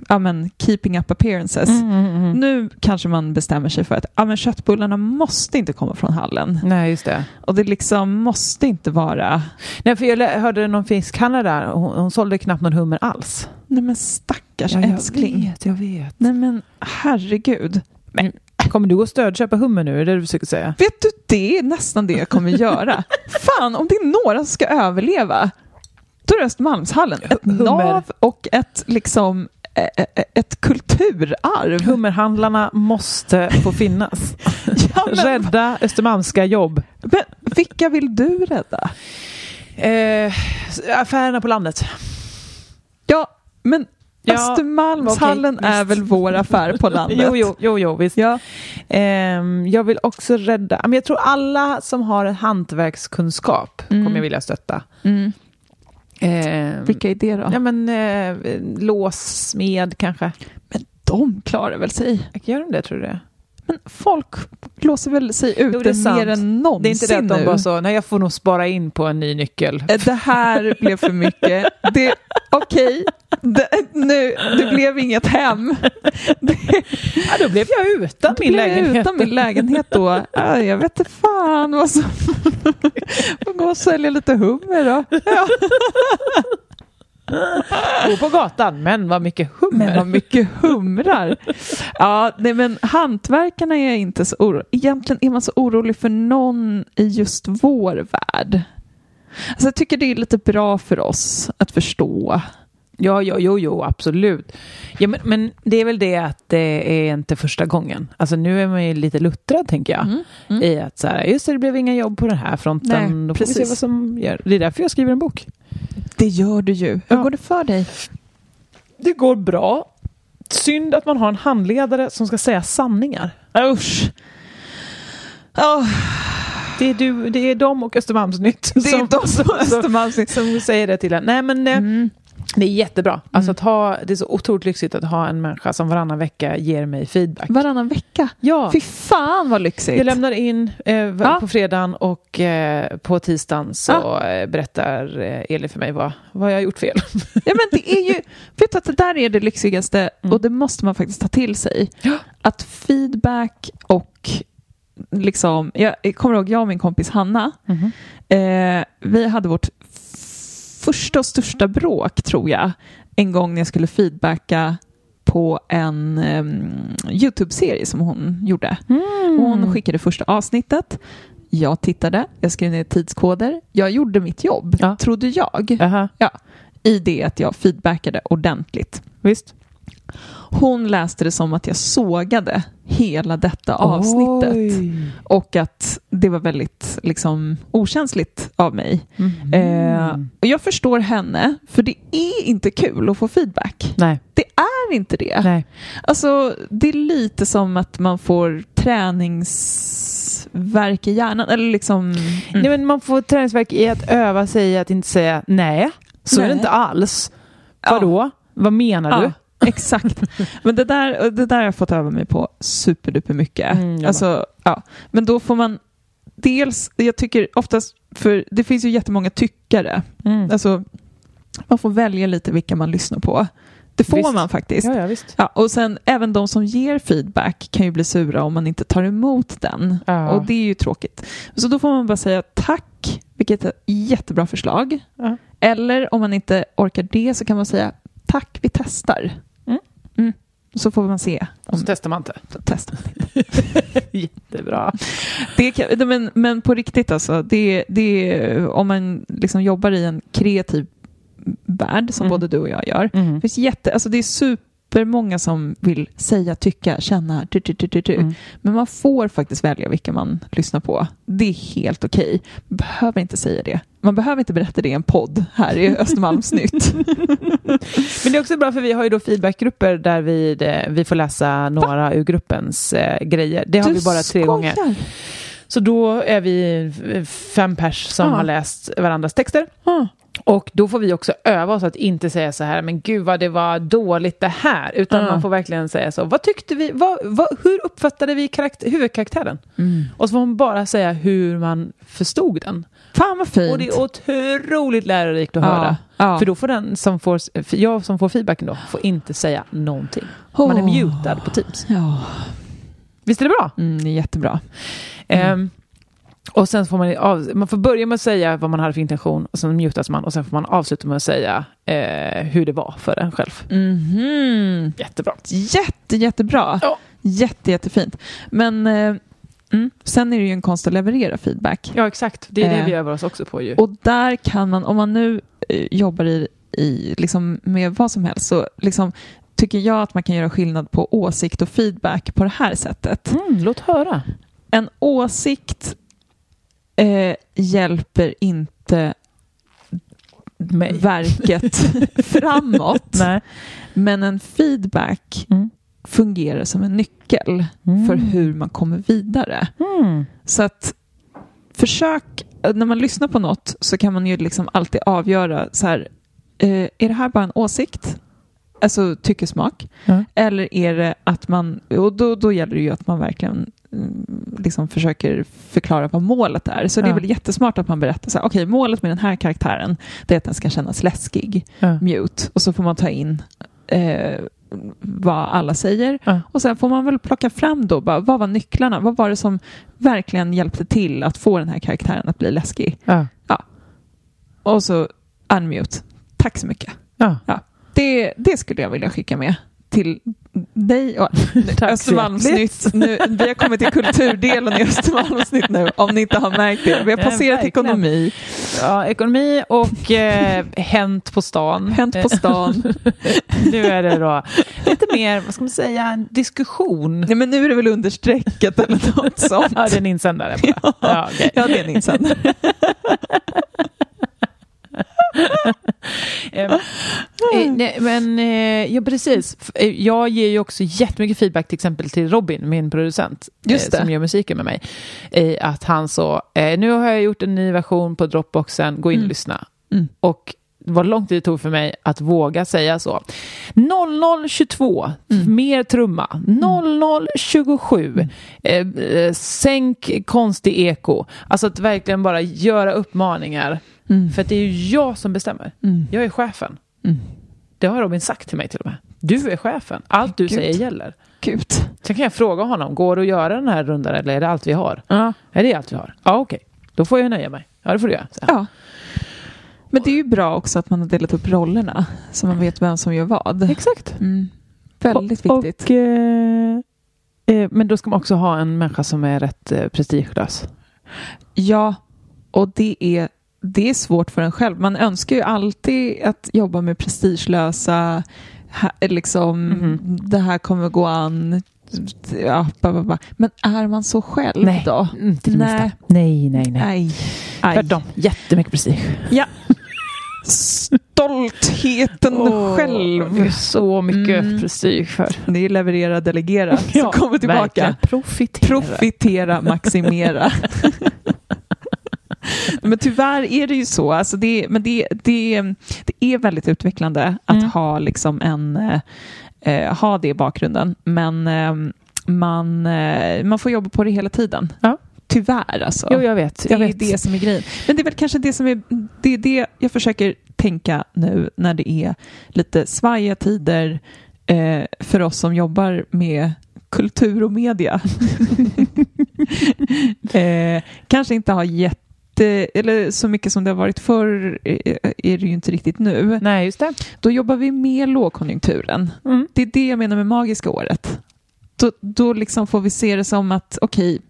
S3: ja, men, keeping up appearances.
S2: Mm.
S3: Nu kanske man bestämmer sig för att ja, men köttbullarna måste inte komma från hallen
S2: Nej, just det.
S3: och det liksom måste inte vara
S2: Nej, för jag lä- hörde någon fiskhandlare där, hon, hon sålde knappt någon hummer alls.
S3: Nej men stackars älskling.
S2: vet, jag vet.
S3: Nej men herregud. Men
S2: Kommer du gå och stödköpa hummer nu, är det det du försöker säga?
S3: vet du, det är nästan det jag kommer göra. Fan, om det är några som ska överleva, då är det Östermalmshallen. Ett
S2: Hummer.
S3: nav och ett liksom eh, eh, ett kulturarv.
S2: Hummerhandlarna måste få finnas.
S3: Ja, men,
S2: Rädda Östermalmska jobb.
S3: men vilka vill du rädda?
S2: Eh, affärerna på landet.
S3: Ja, men
S2: Ja,
S3: Östermalmshallen
S2: okej,
S3: är
S2: visst.
S3: väl vår affär på landet?
S2: Jo, jo, jo, jo visst.
S3: Ja.
S2: Ehm, jag vill också rädda, men jag tror alla som har en hantverkskunskap kommer jag vilja stötta.
S3: Mm.
S2: Ehm,
S3: Vilka är det då?
S2: ja, men, eh, låssmed kanske.
S3: men de klarar väl sig?
S2: Gör de det tror du det?
S3: Men folk låser väl sig ute
S2: det är sant.
S3: mer än någonsin
S2: Det är inte det att de
S3: nu.
S2: bara så, nej jag får nog spara in på en ny nyckel.
S3: Eh, Det här blev för mycket. Det- Okej, det, eh, nu, det blev inget hem.
S2: Ja, då blev jag utan
S3: Då
S2: min
S3: blev jag
S2: lägenhet.
S3: Utan min lägenhet då. Ja, Jag vet inte fan vad som... Får gå och sälja lite hummer då.
S2: Bo på gatan, men vad mycket hummer.
S3: Men vad mycket humrar. Ja, nej men hantverkarna är jag inte så orolig. Egentligen är man så orolig för någon i just vår värld. Alltså jag tycker det är lite bra för oss att förstå.
S2: Ja, ja, jo, jo, absolut. Ja, men, men det är väl det att det är inte första gången. Alltså nu är man ju lite luttrad, tänker jag. I att så här, just det, det blev inga jobb på den här fronten.
S3: Nej,
S2: Då får vi se
S3: precis.
S2: vad som gör. Det är därför jag skriver en bok.
S3: Det gör du ju. Hur
S2: Ja.
S3: går det för dig?
S2: Det går bra. Synd att man har en handledare som ska säga sanningar.
S3: Usch. Ja,
S2: Det är, du, det är de och Östermalmsnytt
S3: det är de som Östermalmsnytt. Mm.
S2: som säger det till en. Nej, men eh, det är jättebra. Alltså att ha, det är så otroligt lyxigt att ha en människa som varannan vecka ger mig feedback.
S3: Varannan vecka.
S2: Ja.
S3: Fy fan vad lyxigt.
S2: Jag lämnar in eh, v-
S3: Ja.
S2: på fredagen och eh, på tisdagen så
S3: Ja.
S2: eh, berättar eh, Elin för mig vad, vad jag har gjort fel.
S3: Ja, men det är ju, vet du att det där är det lyxigaste
S2: Mm.
S3: och det måste man faktiskt ta till sig. Att feedback och liksom, jag jag kommer ihåg jag och min kompis Hanna, eh, vi hade vårt f- första och största bråk tror jag, en gång när jag skulle feedbacka på en em, YouTube-serie som hon gjorde.
S2: Mm.
S3: Hon skickade första avsnittet, jag tittade, jag skrev ner tidskoder, jag gjorde mitt jobb,
S2: Ja.
S3: trodde jag
S2: Aha,
S3: i det att jag feedbackade ordentligt.
S2: visst.
S3: Hon läste det som att jag sågade hela detta avsnittet
S2: Oj.
S3: och att det var väldigt liksom, okänsligt av mig. Eh,
S2: Mm.
S3: och jag förstår henne, för det är inte kul att få feedback.
S2: Nej,
S3: Det är inte det.
S2: nej.
S3: Alltså, det är lite som att man får träningsverk i hjärnan. Eller liksom, mm.
S2: nej men man får träningsverk i att öva sig i att inte säga nej, så är
S3: Nej.
S2: det inte alls.
S3: Ja.
S2: Vadå? Vad menar
S3: Ja.
S2: du?
S3: exakt. Men det där, och det där har jag fått öva mig på superduper mycket.
S2: Mm, jag
S3: alltså, ja. Men då får man dels, jag tycker oftast, för det finns ju jättemånga tyckare.
S2: Mm.
S3: Alltså, man får välja lite vilka man lyssnar på. Det får
S2: Visst.
S3: man faktiskt.
S2: Ja, ja, visst.
S3: Ja, och sen även de som ger feedback kan ju bli sura om man inte tar emot den.
S2: Ja.
S3: Och det är ju tråkigt. Så då får man bara säga tack, vilket är ett jättebra förslag.
S2: Ja.
S3: Eller om man inte orkar det så kan man säga tack, vi testar.
S2: Mm.
S3: Mm. Så får man se.
S2: Och så testar man inte.
S3: Då testar man.
S2: Jättebra.
S3: Det kan, nej, men, men på riktigt alltså, det, det, är- om man liksom jobbar i en kreativ värld som
S2: Mm.
S3: både du och jag gör, det, finns jätte, alltså det är supermånga som vill säga, tycka, känna, du, du, du, du, du.
S2: Mm.
S3: men man får faktiskt välja vilka man lyssnar på. Det är helt okej. Man behöver inte säga det. Man behöver inte berätta det i en podd här i Östermalmsnytt.
S2: Men det är också bra för vi har ju då feedbackgrupper där vi, eh, vi får läsa några ur gruppens eh, grejer. Det har vi bara tre gånger. Så då är vi eh, fem pers som
S3: Ja.
S2: har läst varandras texter. Och då får vi också öva oss att inte säga så här, men gud vad det var dåligt det här. Utan
S3: Ja.
S2: man får verkligen säga så, vad tyckte vi, vad, vad, hur uppfattade vi karakt- huvudkaraktären? Och så får man bara säga hur man förstod den.
S3: Fan vad fint.
S2: Och det är otroligt lärorikt att höra.
S3: Ja.
S2: För då får den som får, för jag som får feedbacken då, får inte säga någonting. Man är
S3: Åh.
S2: mutad på Teams.
S3: Ja.
S2: Visst är det bra?
S3: Mm, det är jättebra.
S2: Ehm, och sen får man, av, man får börja med att säga vad man hade för intention och sen mutas man och sen får man avsluta med att säga eh, hur det var för en själv.
S3: Mhm.
S2: Jättebra.
S3: Jätte, jättebra.
S2: Ja.
S3: Jätte, jättefint. Men eh, mm, sen är det ju en konst att leverera feedback.
S2: Ja, exakt. Det är det
S3: Eh.
S2: vi övar oss också på ju.
S3: Och där kan man, om man nu eh, jobbar i, i liksom med vad som helst, så liksom, tycker jag att man kan göra skillnad på åsikt och feedback på det här sättet.
S2: Mm, låt höra.
S3: En åsikt eh, hjälper inte
S2: Mig.
S3: verket framåt.
S2: Nej.
S3: Men en feedback
S2: Mm.
S3: fungerar som en nyckel för hur man kommer vidare.
S2: Mm.
S3: Så att försök, när man lyssnar på något så kan man ju liksom alltid avgöra så här, eh, är det här bara en åsikt? Alltså tyckesmak.
S2: Ja.
S3: Eller är det att man, och då, då gäller det ju att man verkligen mm, liksom försöker förklara vad målet är. Så det är
S2: Ja.
S3: väl jättesmart att man berättar så här, okej målet med den här karaktären det är att den ska kännas läskig
S2: Ja.
S3: mute och så får man ta in eh, vad alla säger.
S2: Ja.
S3: Och sen får man väl plocka fram då, bara, vad var nycklarna? Vad var det som verkligen hjälpte till att få den här karaktären att bli läskig?
S2: Ja.
S3: Och så unmute. Tack så mycket.
S2: Ja.
S3: Det, det skulle jag vilja skicka med till dig och
S2: så
S3: Östermalmsnytt. Nu, vi har kommit till kulturdelen i Östermalmsnytt nu, om ni inte har märkt det. Vi har
S2: Nej,
S3: passerat
S2: verkligen.
S3: ekonomi,
S2: ja, ekonomi och eh, hänt på stan.
S3: hänt på stan.
S2: Nu är det då lite mer, vad ska man säga, en diskussion.
S3: Nej, men nu är det väl understrecket eller något sånt.
S2: Ja, det är en insändare bara. Ja, okej.
S3: Ja, det är en
S2: Mm.
S3: insändare.
S2: Eh, eh, nej, men eh, ja, precis. F- eh, Jag ger ju också jättemycket feedback till exempel till Robin, min producent, eh,
S3: Just det.
S2: som gör musiken med mig. Eh, att han så, eh, nu har jag gjort en ny version på Dropboxen, gå in och
S3: Mm.
S2: lyssna.
S3: Mm.
S2: Och vad lång tid det tog för mig att våga säga så. 0022,
S3: Mm.
S2: mer trumma. 0027, eh, eh, sänk konstig eko. Alltså att verkligen bara göra uppmaningar. För att det är ju jag som bestämmer. Jag är chefen.
S3: Mm.
S2: Det har Robin sagt till mig till och med. Du är chefen. Allt du
S3: Gud.
S2: säger gäller.
S3: Gud.
S2: Sen kan jag fråga honom, går det att göra den här rundan eller är det allt vi har? Är det allt vi har? Ja, okej. Då får jag nöja mig. Ja, det får du göra. Så här.
S3: Ja. Men det är ju bra också att man har delat upp rollerna så man vet vem som gör vad.
S2: Exakt.
S3: Mm. Väldigt
S2: och,
S3: viktigt.
S2: Och, eh, eh, men då ska man också ha en människa som är rätt eh, prestigelös.
S3: Ja, och det är, det är svårt för en själv. Man önskar ju alltid att jobba med prestigelösa, ha- liksom,
S2: Mhm.
S3: det här kommer gå an. Ja, ba, ba, ba. Men är man så själv
S2: Nej.
S3: då?
S2: Inte
S3: det minsta.
S2: Nej, nej, nej.
S3: Nej. Aj.
S2: Tvärtom. Jättemycket prestige.
S3: Stoltheten själv.
S2: Det är så mycket
S3: Mm.
S2: prestige för.
S3: Det är leverera, delegera som kommer tillbaka.
S2: verkligen. Profitera.
S3: Profitera, maximera. Men tyvärr är det ju så. Alltså det, men det, det, det är väldigt utvecklande att
S2: Mm.
S3: ha liksom en, eh, eh, ha det i bakgrunden. Men eh, man, eh, man får jobba på det hela tiden.
S2: Ja.
S3: Tyvärr alltså.
S2: Jo, jag vet.
S3: Det
S2: Jag
S3: är
S2: vet.
S3: det som är grejen. Men det är väl kanske det som är, det är det jag försöker tänka nu när det är lite svajiga tider eh, för oss som jobbar med kultur och media. eh, kanske inte har jätte, eller så mycket som det har varit förr eh, är det ju inte riktigt nu.
S2: Nej, just det.
S3: Då jobbar vi med lågkonjunkturen.
S2: Mm.
S3: Det är det jag menar med magiska året. Då, då liksom får vi se det som att, okej,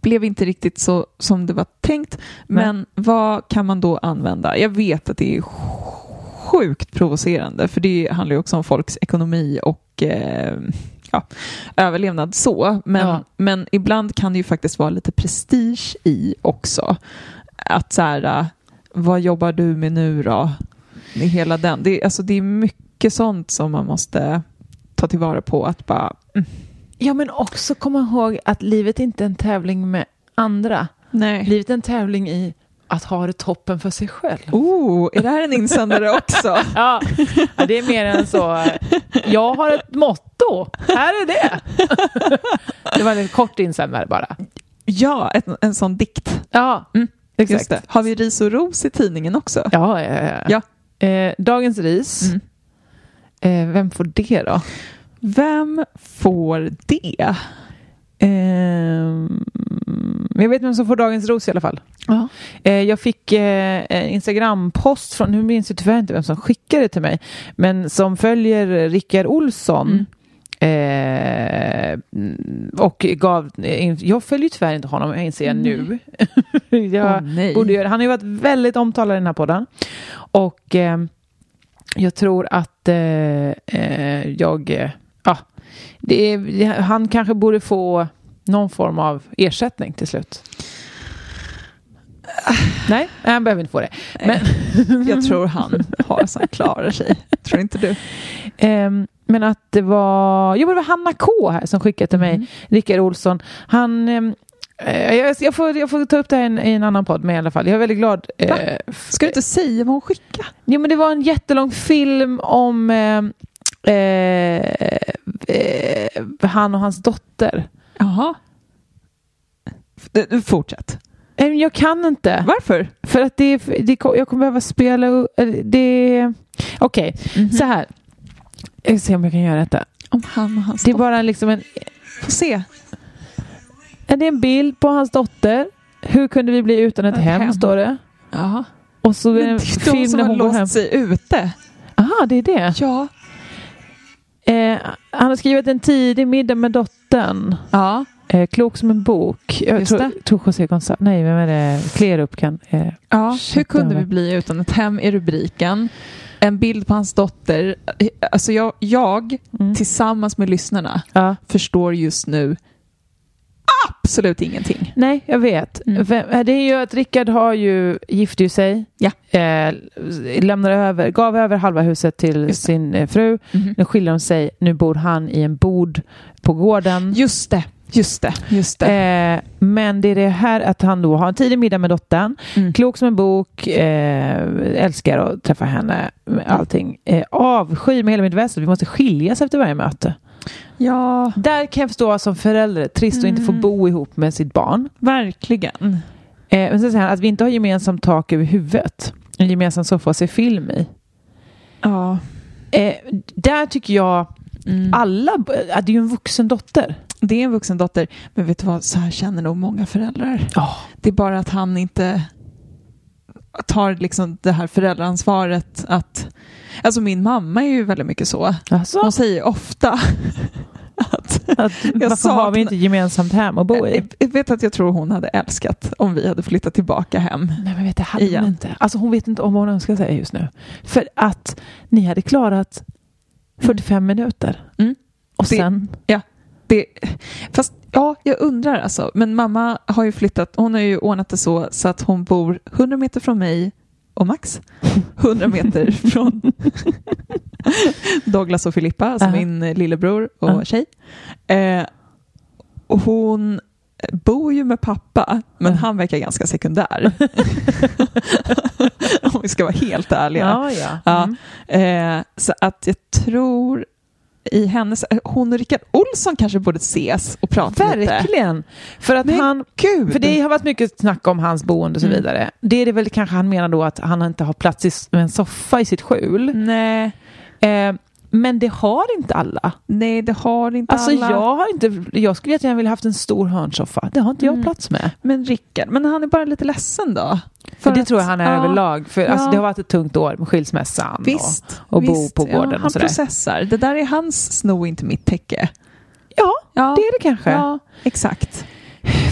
S3: blev inte riktigt så som det var tänkt, men vad kan man då använda? Jag vet att det är sjukt provocerande, för det handlar ju också om folks ekonomi och eh, ja, överlevnad så, men,
S2: Ja.
S3: men ibland kan det ju faktiskt vara lite prestige i också. Att så här, eh, vad jobbar du med nu då? Det är Hela den. Det, är- alltså, det är mycket sånt som man måste ta tillvara på. Att bara,
S2: Ja, men också komma ihåg att livet inte är en tävling med andra.
S3: nej.
S2: Livet är en tävling i att ha det toppen för sig själv.
S3: Oh, är det här en insändare också?
S2: Ja, ja, det är mer än så. Jag har ett motto. Här är det. Det var en kort insändare bara.
S3: ja, en, en sån dikt.
S2: Ja, mm,
S3: Just det. Har vi ris och ros i tidningen också?
S2: Ja, ja, ja, ja. Eh, dagens ris.
S3: Mm.
S2: Eh, vem får det då?
S3: Vem får det?
S2: Ehm, jag vet vem som får dagens ros i alla fall.
S3: Ja.
S2: Eh, jag fick eh, en Instagram-post från, nu minns jag tyvärr inte vem som skickade det till mig, men som följer Rickard Olsson.
S3: Mm.
S2: Eh, mm, och gav, eh, in- jag följer ju tyvärr inte honom, jag inser jag nu. jag,
S3: Åh, nej.
S2: borde göra. Han har ju varit väldigt omtalad i den här podden. Och eh, jag tror att eh, eh, jag... eh, Ja, det är, det- han kanske borde få någon form av ersättning till slut. Nej, nej, han behöver inte få det. Men,
S3: Jag tror han har så han klarar sig. Tror inte du?
S2: Ehm, men att det var, jo men det var Hanna K här som skickade till mig,
S3: Mm.
S2: Rickard Olsson. Han, ehm, eh, jag, jag, får, jag får ta upp det här i en, i en annan podd med i alla fall. Jag är väldigt glad. eh, f-
S3: Ska du inte säga vad hon skickar?
S2: Jo men det var en jättelång film om eh, eh, eh, han och hans dotter.
S3: Jaha. Eh, Fortsätt.
S2: Eh, Jag kan inte.
S3: Varför?
S2: För att det, är- det ko- jag kommer behöva spela... u- eller Det, Okej,
S3: Mhm.
S2: så här. Jag ska se om jag kan göra detta.
S3: Om han och hans
S2: Det är bara liksom en
S3: Får se.
S2: Ja, Det är en bild på hans dotter. Hur kunde vi bli utan ett
S3: Ett
S2: hem,
S3: hem.
S2: står det.
S3: Ja.
S2: Och så är
S3: Men
S2: det
S3: det
S2: en
S3: är ju de
S2: film
S3: som
S2: när
S3: har
S2: hon går
S3: låst
S2: hem.
S3: sig ute.
S2: Aha, det är det.
S3: Ja.
S2: Eh, han har skrivit en tidig middag med dottern.
S3: Ja.
S2: Eh, klok som en bok. Jag
S3: Just
S2: tror,
S3: det.
S2: tror José Gonzales. Nej, vem är det? Klerup kan... Eh,
S3: ja. Hur
S2: Shit,
S3: kunde
S2: vad-
S3: vi bli utan ett hem i rubriken? En bild på hans dotter. Eh, Alltså jag, jag
S2: mm.
S3: tillsammans med lyssnarna
S2: ja.
S3: förstår just nu absolut ingenting.
S2: Nej, jag vet.
S3: Mm.
S2: Vem, eh, det är ju att Rickard har ju, gifte ju sig.
S3: Ja.
S2: Eh, lämnade över, gav över halva huset till
S3: Just det.
S2: sin eh, fru. Nu skiljer de sig. Nu bor han i en bod på gården.
S3: Just det, just det, just det.
S2: Eh, men det är det här att han då har en tidig middag med dottern,
S3: Mm.
S2: klok som en bok, eh, älskar att träffa henne, allting. Eh, avsky med hela mitt väsen, vi måste skiljas efter varje möte.
S3: Ja,
S2: Där kan jag förstå som förälder, trist att inte få
S3: Mm.
S2: bo ihop med sitt barn.
S3: verkligen.
S2: Eh, men sen säger han att vi inte har gemensamt tak över huvudet, en gemensam soffa att se film i.
S3: Ja.
S2: Eh, där tycker jag
S3: Mm.
S2: alla, att det är ju en vuxen dotter.
S3: Det är en vuxen dotter, men vet du vad, så här känner nog många föräldrar.
S2: Ja.
S3: Det är bara att han inte tar liksom det här föräldraansvaret att... Alltså min mamma är ju väldigt mycket så.
S2: Alltså,
S3: Hon säger ofta att...
S2: att, varför har
S3: saknar-
S2: vi inte gemensamt hem att bo i?
S3: Jag vet att jag tror hon hade älskat om vi hade flyttat tillbaka hem.
S2: Nej men vet du, hade
S3: Igen.
S2: hon inte. Alltså hon vet inte om vad hon önskar sig just nu. För att ni hade klarat 45 minuter.
S3: Mm.
S2: Och
S3: Det-
S2: sen,
S3: Det, fast ja, jag undrar alltså. Men mamma har ju flyttat, hon har ju ordnat det så, så att hon bor 100 meter från mig och Max. 100 meter från Douglas och Filippa, alltså
S2: Aha.
S3: min eh, lillebror och
S2: Ja.
S3: tjej. Eh, och hon bor ju med pappa, men han verkar ganska sekundär. Om vi ska vara helt ärliga.
S2: ja ja.
S3: Ja,
S2: Mm.
S3: Eh, så att jag tror i hennes... Hon och Rickard Olsson kanske borde ses och prata lite.
S2: Verkligen. För att
S3: Men
S2: han...
S3: gud. Mm.
S2: För det har varit mycket snack om hans boende och så vidare. Det är det väl kanske han menar då att han inte har plats i s- med en soffa i sitt skjul.
S3: Nej,
S2: Eh, men det har inte alla.
S3: nej, det har inte
S2: Alltså
S3: alla.
S2: jag har inte, jag skulle jättegärna vilja haft en stor hörnsoffa. Det har inte jag plats med.
S3: Mm. Men Rickard, men han är bara lite ledsen då.
S2: För det
S3: att-
S2: tror jag han är
S3: ja,
S2: överlag. För alltså,
S3: Ja.
S2: det har varit ett tungt år med skilsmässan
S3: Visst.
S2: och, och bo
S3: visst.
S2: på gården
S3: ja,
S2: och
S3: Han
S2: sådär.
S3: processar. Det där är hans sno, inte mitt täcke.
S2: Ja,
S3: Ja.
S2: det är det kanske.
S3: Ja, exakt.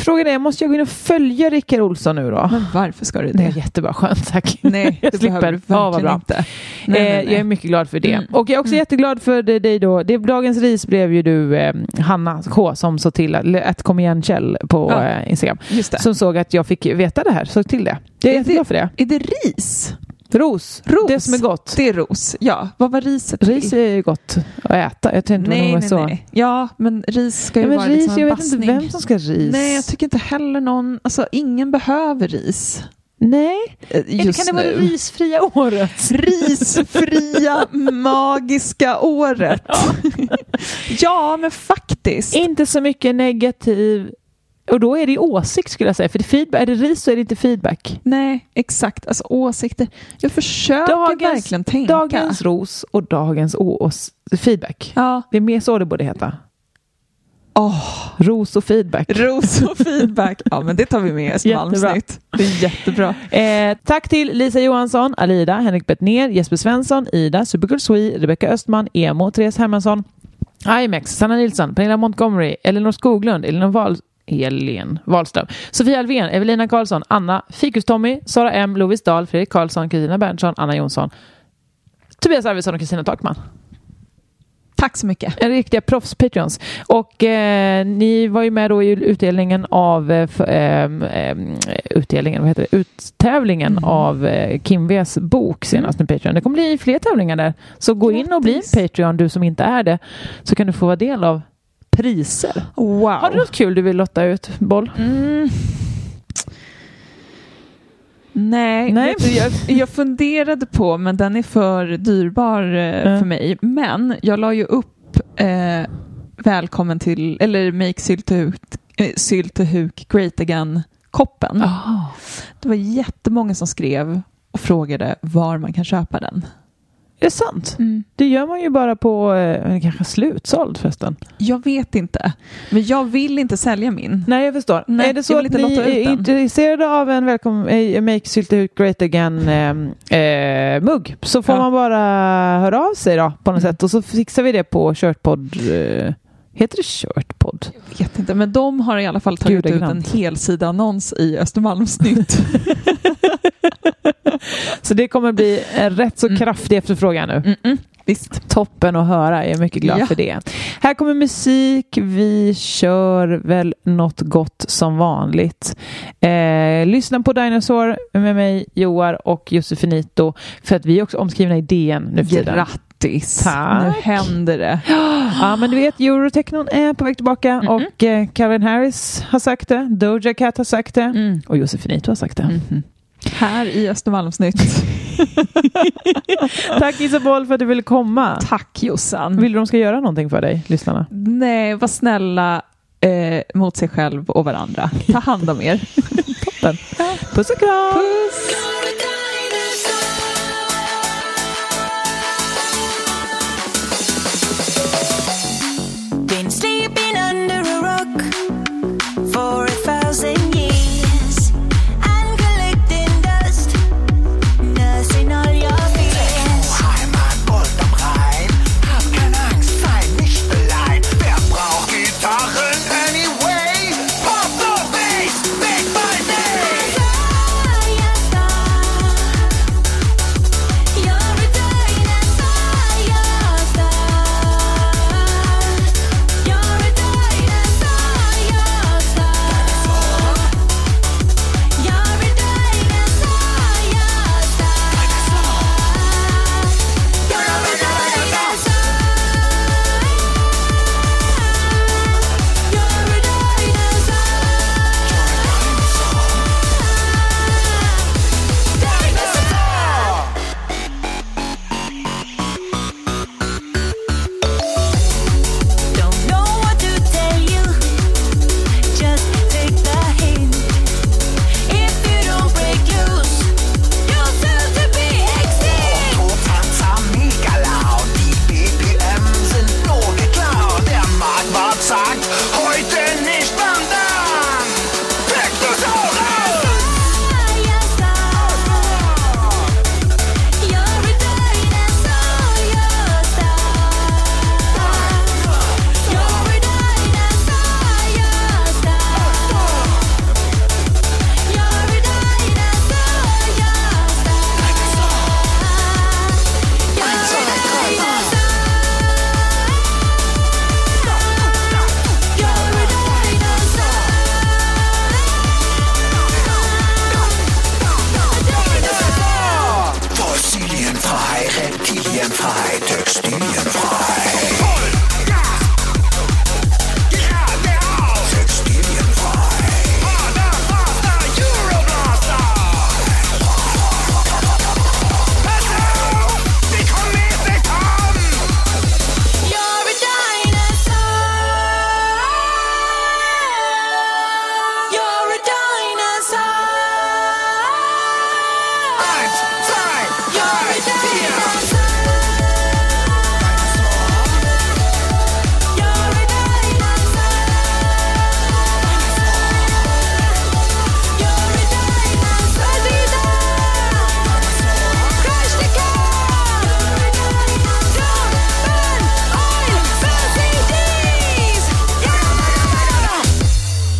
S2: Frågan är, måste jag gå in och följa Rickard Olsson nu då?
S3: Men varför ska du
S2: Det är
S3: det?
S2: jättebra, skönt tack.
S3: Mm. Nej,
S2: Ah. jag
S3: det
S2: slipper.
S3: behöver du
S2: Ja, vad
S3: verkligen
S2: bra.
S3: inte.
S2: eh,
S3: Nej, nej,
S2: Jag är
S3: nej.
S2: mycket glad för det.
S3: Mm.
S2: Och jag är också jätteglad för det- dig då. Det, dagens ris blev ju du, eh, Hanna K, som såg till att, eller att kom igen Kjell på
S3: Ja.
S2: eh, Instagram.
S3: Just det.
S2: Som såg att jag fick veta det här, såg till det. Det är
S3: Är det-
S2: jätteglad för det.
S3: Är det ris?
S2: Ros,
S3: Ros.
S2: det som är gott.
S3: Det är ros, ja. Vad var riset till?
S2: Ris är ju gott att äta. Jag tänkte
S3: nej,
S2: nog var
S3: nej,
S2: så.
S3: nej. Ja, men ris ska ju
S2: Ja, men
S3: vara
S2: ris,
S3: liksom en
S2: jag vet
S3: bastning.
S2: inte vem som ska ha ris.
S3: Nej, jag tycker inte heller någon... Alltså, ingen behöver ris
S2: Nej,
S3: eh, just
S2: eller kan det vara
S3: nu.
S2: det risfria året?
S3: Risfria, magiska året. ja, men faktiskt.
S2: Inte så mycket negativ. Och då är det ju åsikt skulle jag säga. För det är feedback, är det ris så är det inte feedback.
S3: Nej, exakt. Alltså åsikter. Jag försöker verkligen tänka.
S2: dagens ros och dagens ås, feedback.
S3: Ja.
S2: Det är mer så det borde heta.
S3: Åh,
S2: Ros och feedback.
S3: ros och feedback. Ja, men det tar vi med oss som
S2: Jättebra.
S3: Malmsnitt. Det är jättebra.
S2: Eh, tack till Lisa Johansson, Alida, Henrik Bettner, Jesper Svensson, Ida, Supergirl Sui, Rebecca Östman, Emo, Therese Hermansson, IMAX, Sanna Nilsson, Pernilla Montgomery, Elinor Skoglund, Elinor Wahl Elin Wahlström, Sofia Alvén, Evelina Karlsson, Anna, Fikus-Tommy, Sara M, Lovis Dahl, Fredrik Karlsson, Kristina Berntsson, Anna Jonsson, Tobias Arvidsson och Kristina Takman.
S3: Tack så mycket.
S2: En riktiga proffs-patreons. Och eh, ni var ju med då i utdelningen av eh, f- ehm, ehm, utdelningen, vad heter det? uttävlingen av eh, Kim V's bok senast med Patreon. Det kommer bli fler tävlingar där. Så gå in och bli en Patreon, du som inte är det, så kan du få vara del av priser.
S3: Wow.
S2: Har du något kul du vill lotta ut, Boll?
S3: Mm. Nej,
S2: Nej.
S3: Vet du, jag, jag funderade på, men den är för dyrbar eh,
S2: Ja.
S3: för mig. Men jag la ju upp eh, Välkommen till, eller Make Syltehuk, eh, Syltehuk Great Again-koppen. Det var jättemånga som skrev och frågade var man kan köpa den.
S2: Är det sant? Det gör man ju bara på, eh, kanske slutsåld förresten.
S3: Jag vet inte, men jag vill inte sälja min.
S2: Nej, jag förstår.
S3: Nej,
S2: är det
S3: jag
S2: så
S3: vill
S2: att
S3: inte
S2: ni
S3: lotta ut
S2: är
S3: den.
S2: intresserade av en välkom, eh, Make Syltehuk Great Again-mugg så får
S3: Ja. Mm.
S2: man bara höra av sig då, på något sätt och så fixar vi det på Körtpodd. Eh, heter det Körtpodd?
S3: Jag vet inte, men de har i alla fall tagit
S2: Gud, det är
S3: ut en
S2: grant.
S3: helsidaannons i Östermalmsnytt.
S2: Så det kommer bli en rätt så kraftig efterfrågan nu.
S3: Mm. Visst.
S2: Toppen att höra, jag är mycket glad
S3: Ja.
S2: för det. Här kommer musik, vi kör väl något gott som vanligt. Eh, lyssna på Dinosaur med mig, Joar och Josefinito för att vi är också omskrivna i DN nu för tiden.
S3: Grattis!
S2: Tack.
S3: Nu händer det.
S2: Ja, men du vet, Eurotechnon är på väg tillbaka och eh, Calvin Harris har sagt det, Doja Cat har sagt det och Josefinito har sagt det.
S3: Här i Östermalmsnytt.
S2: Tack Isabel för att du ville komma.
S3: Tack Jossan.
S2: Vill du de ska göra någonting för dig, lyssnarna?
S3: Nej, var snälla eh, mot sig själv och varandra. Ta hand om er.
S2: Toppen. Puss och kram!
S6: Been sleeping under a rock for a thousand years. I'm collecting dust, nursing all your fears. Fire, fire,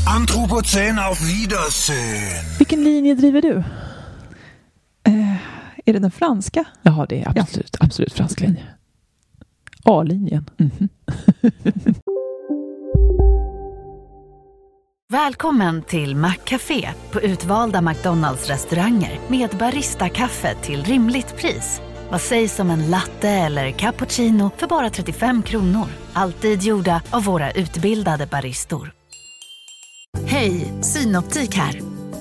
S7: 14, auf Wiedersehen.
S2: Vilken linje driver du?
S3: Eh, Är det den franska?
S2: Ja, det är absolut, absolut fransk linje. A-linjen.
S4: Välkommen till Maccafé på utvalda McDonalds restauranger med Baristakaffe till rimligt pris. Vad sägs om en latte eller cappuccino för bara 35 kronor? Alltid gjorda av våra utbildade baristor. Hej, Synoptik här.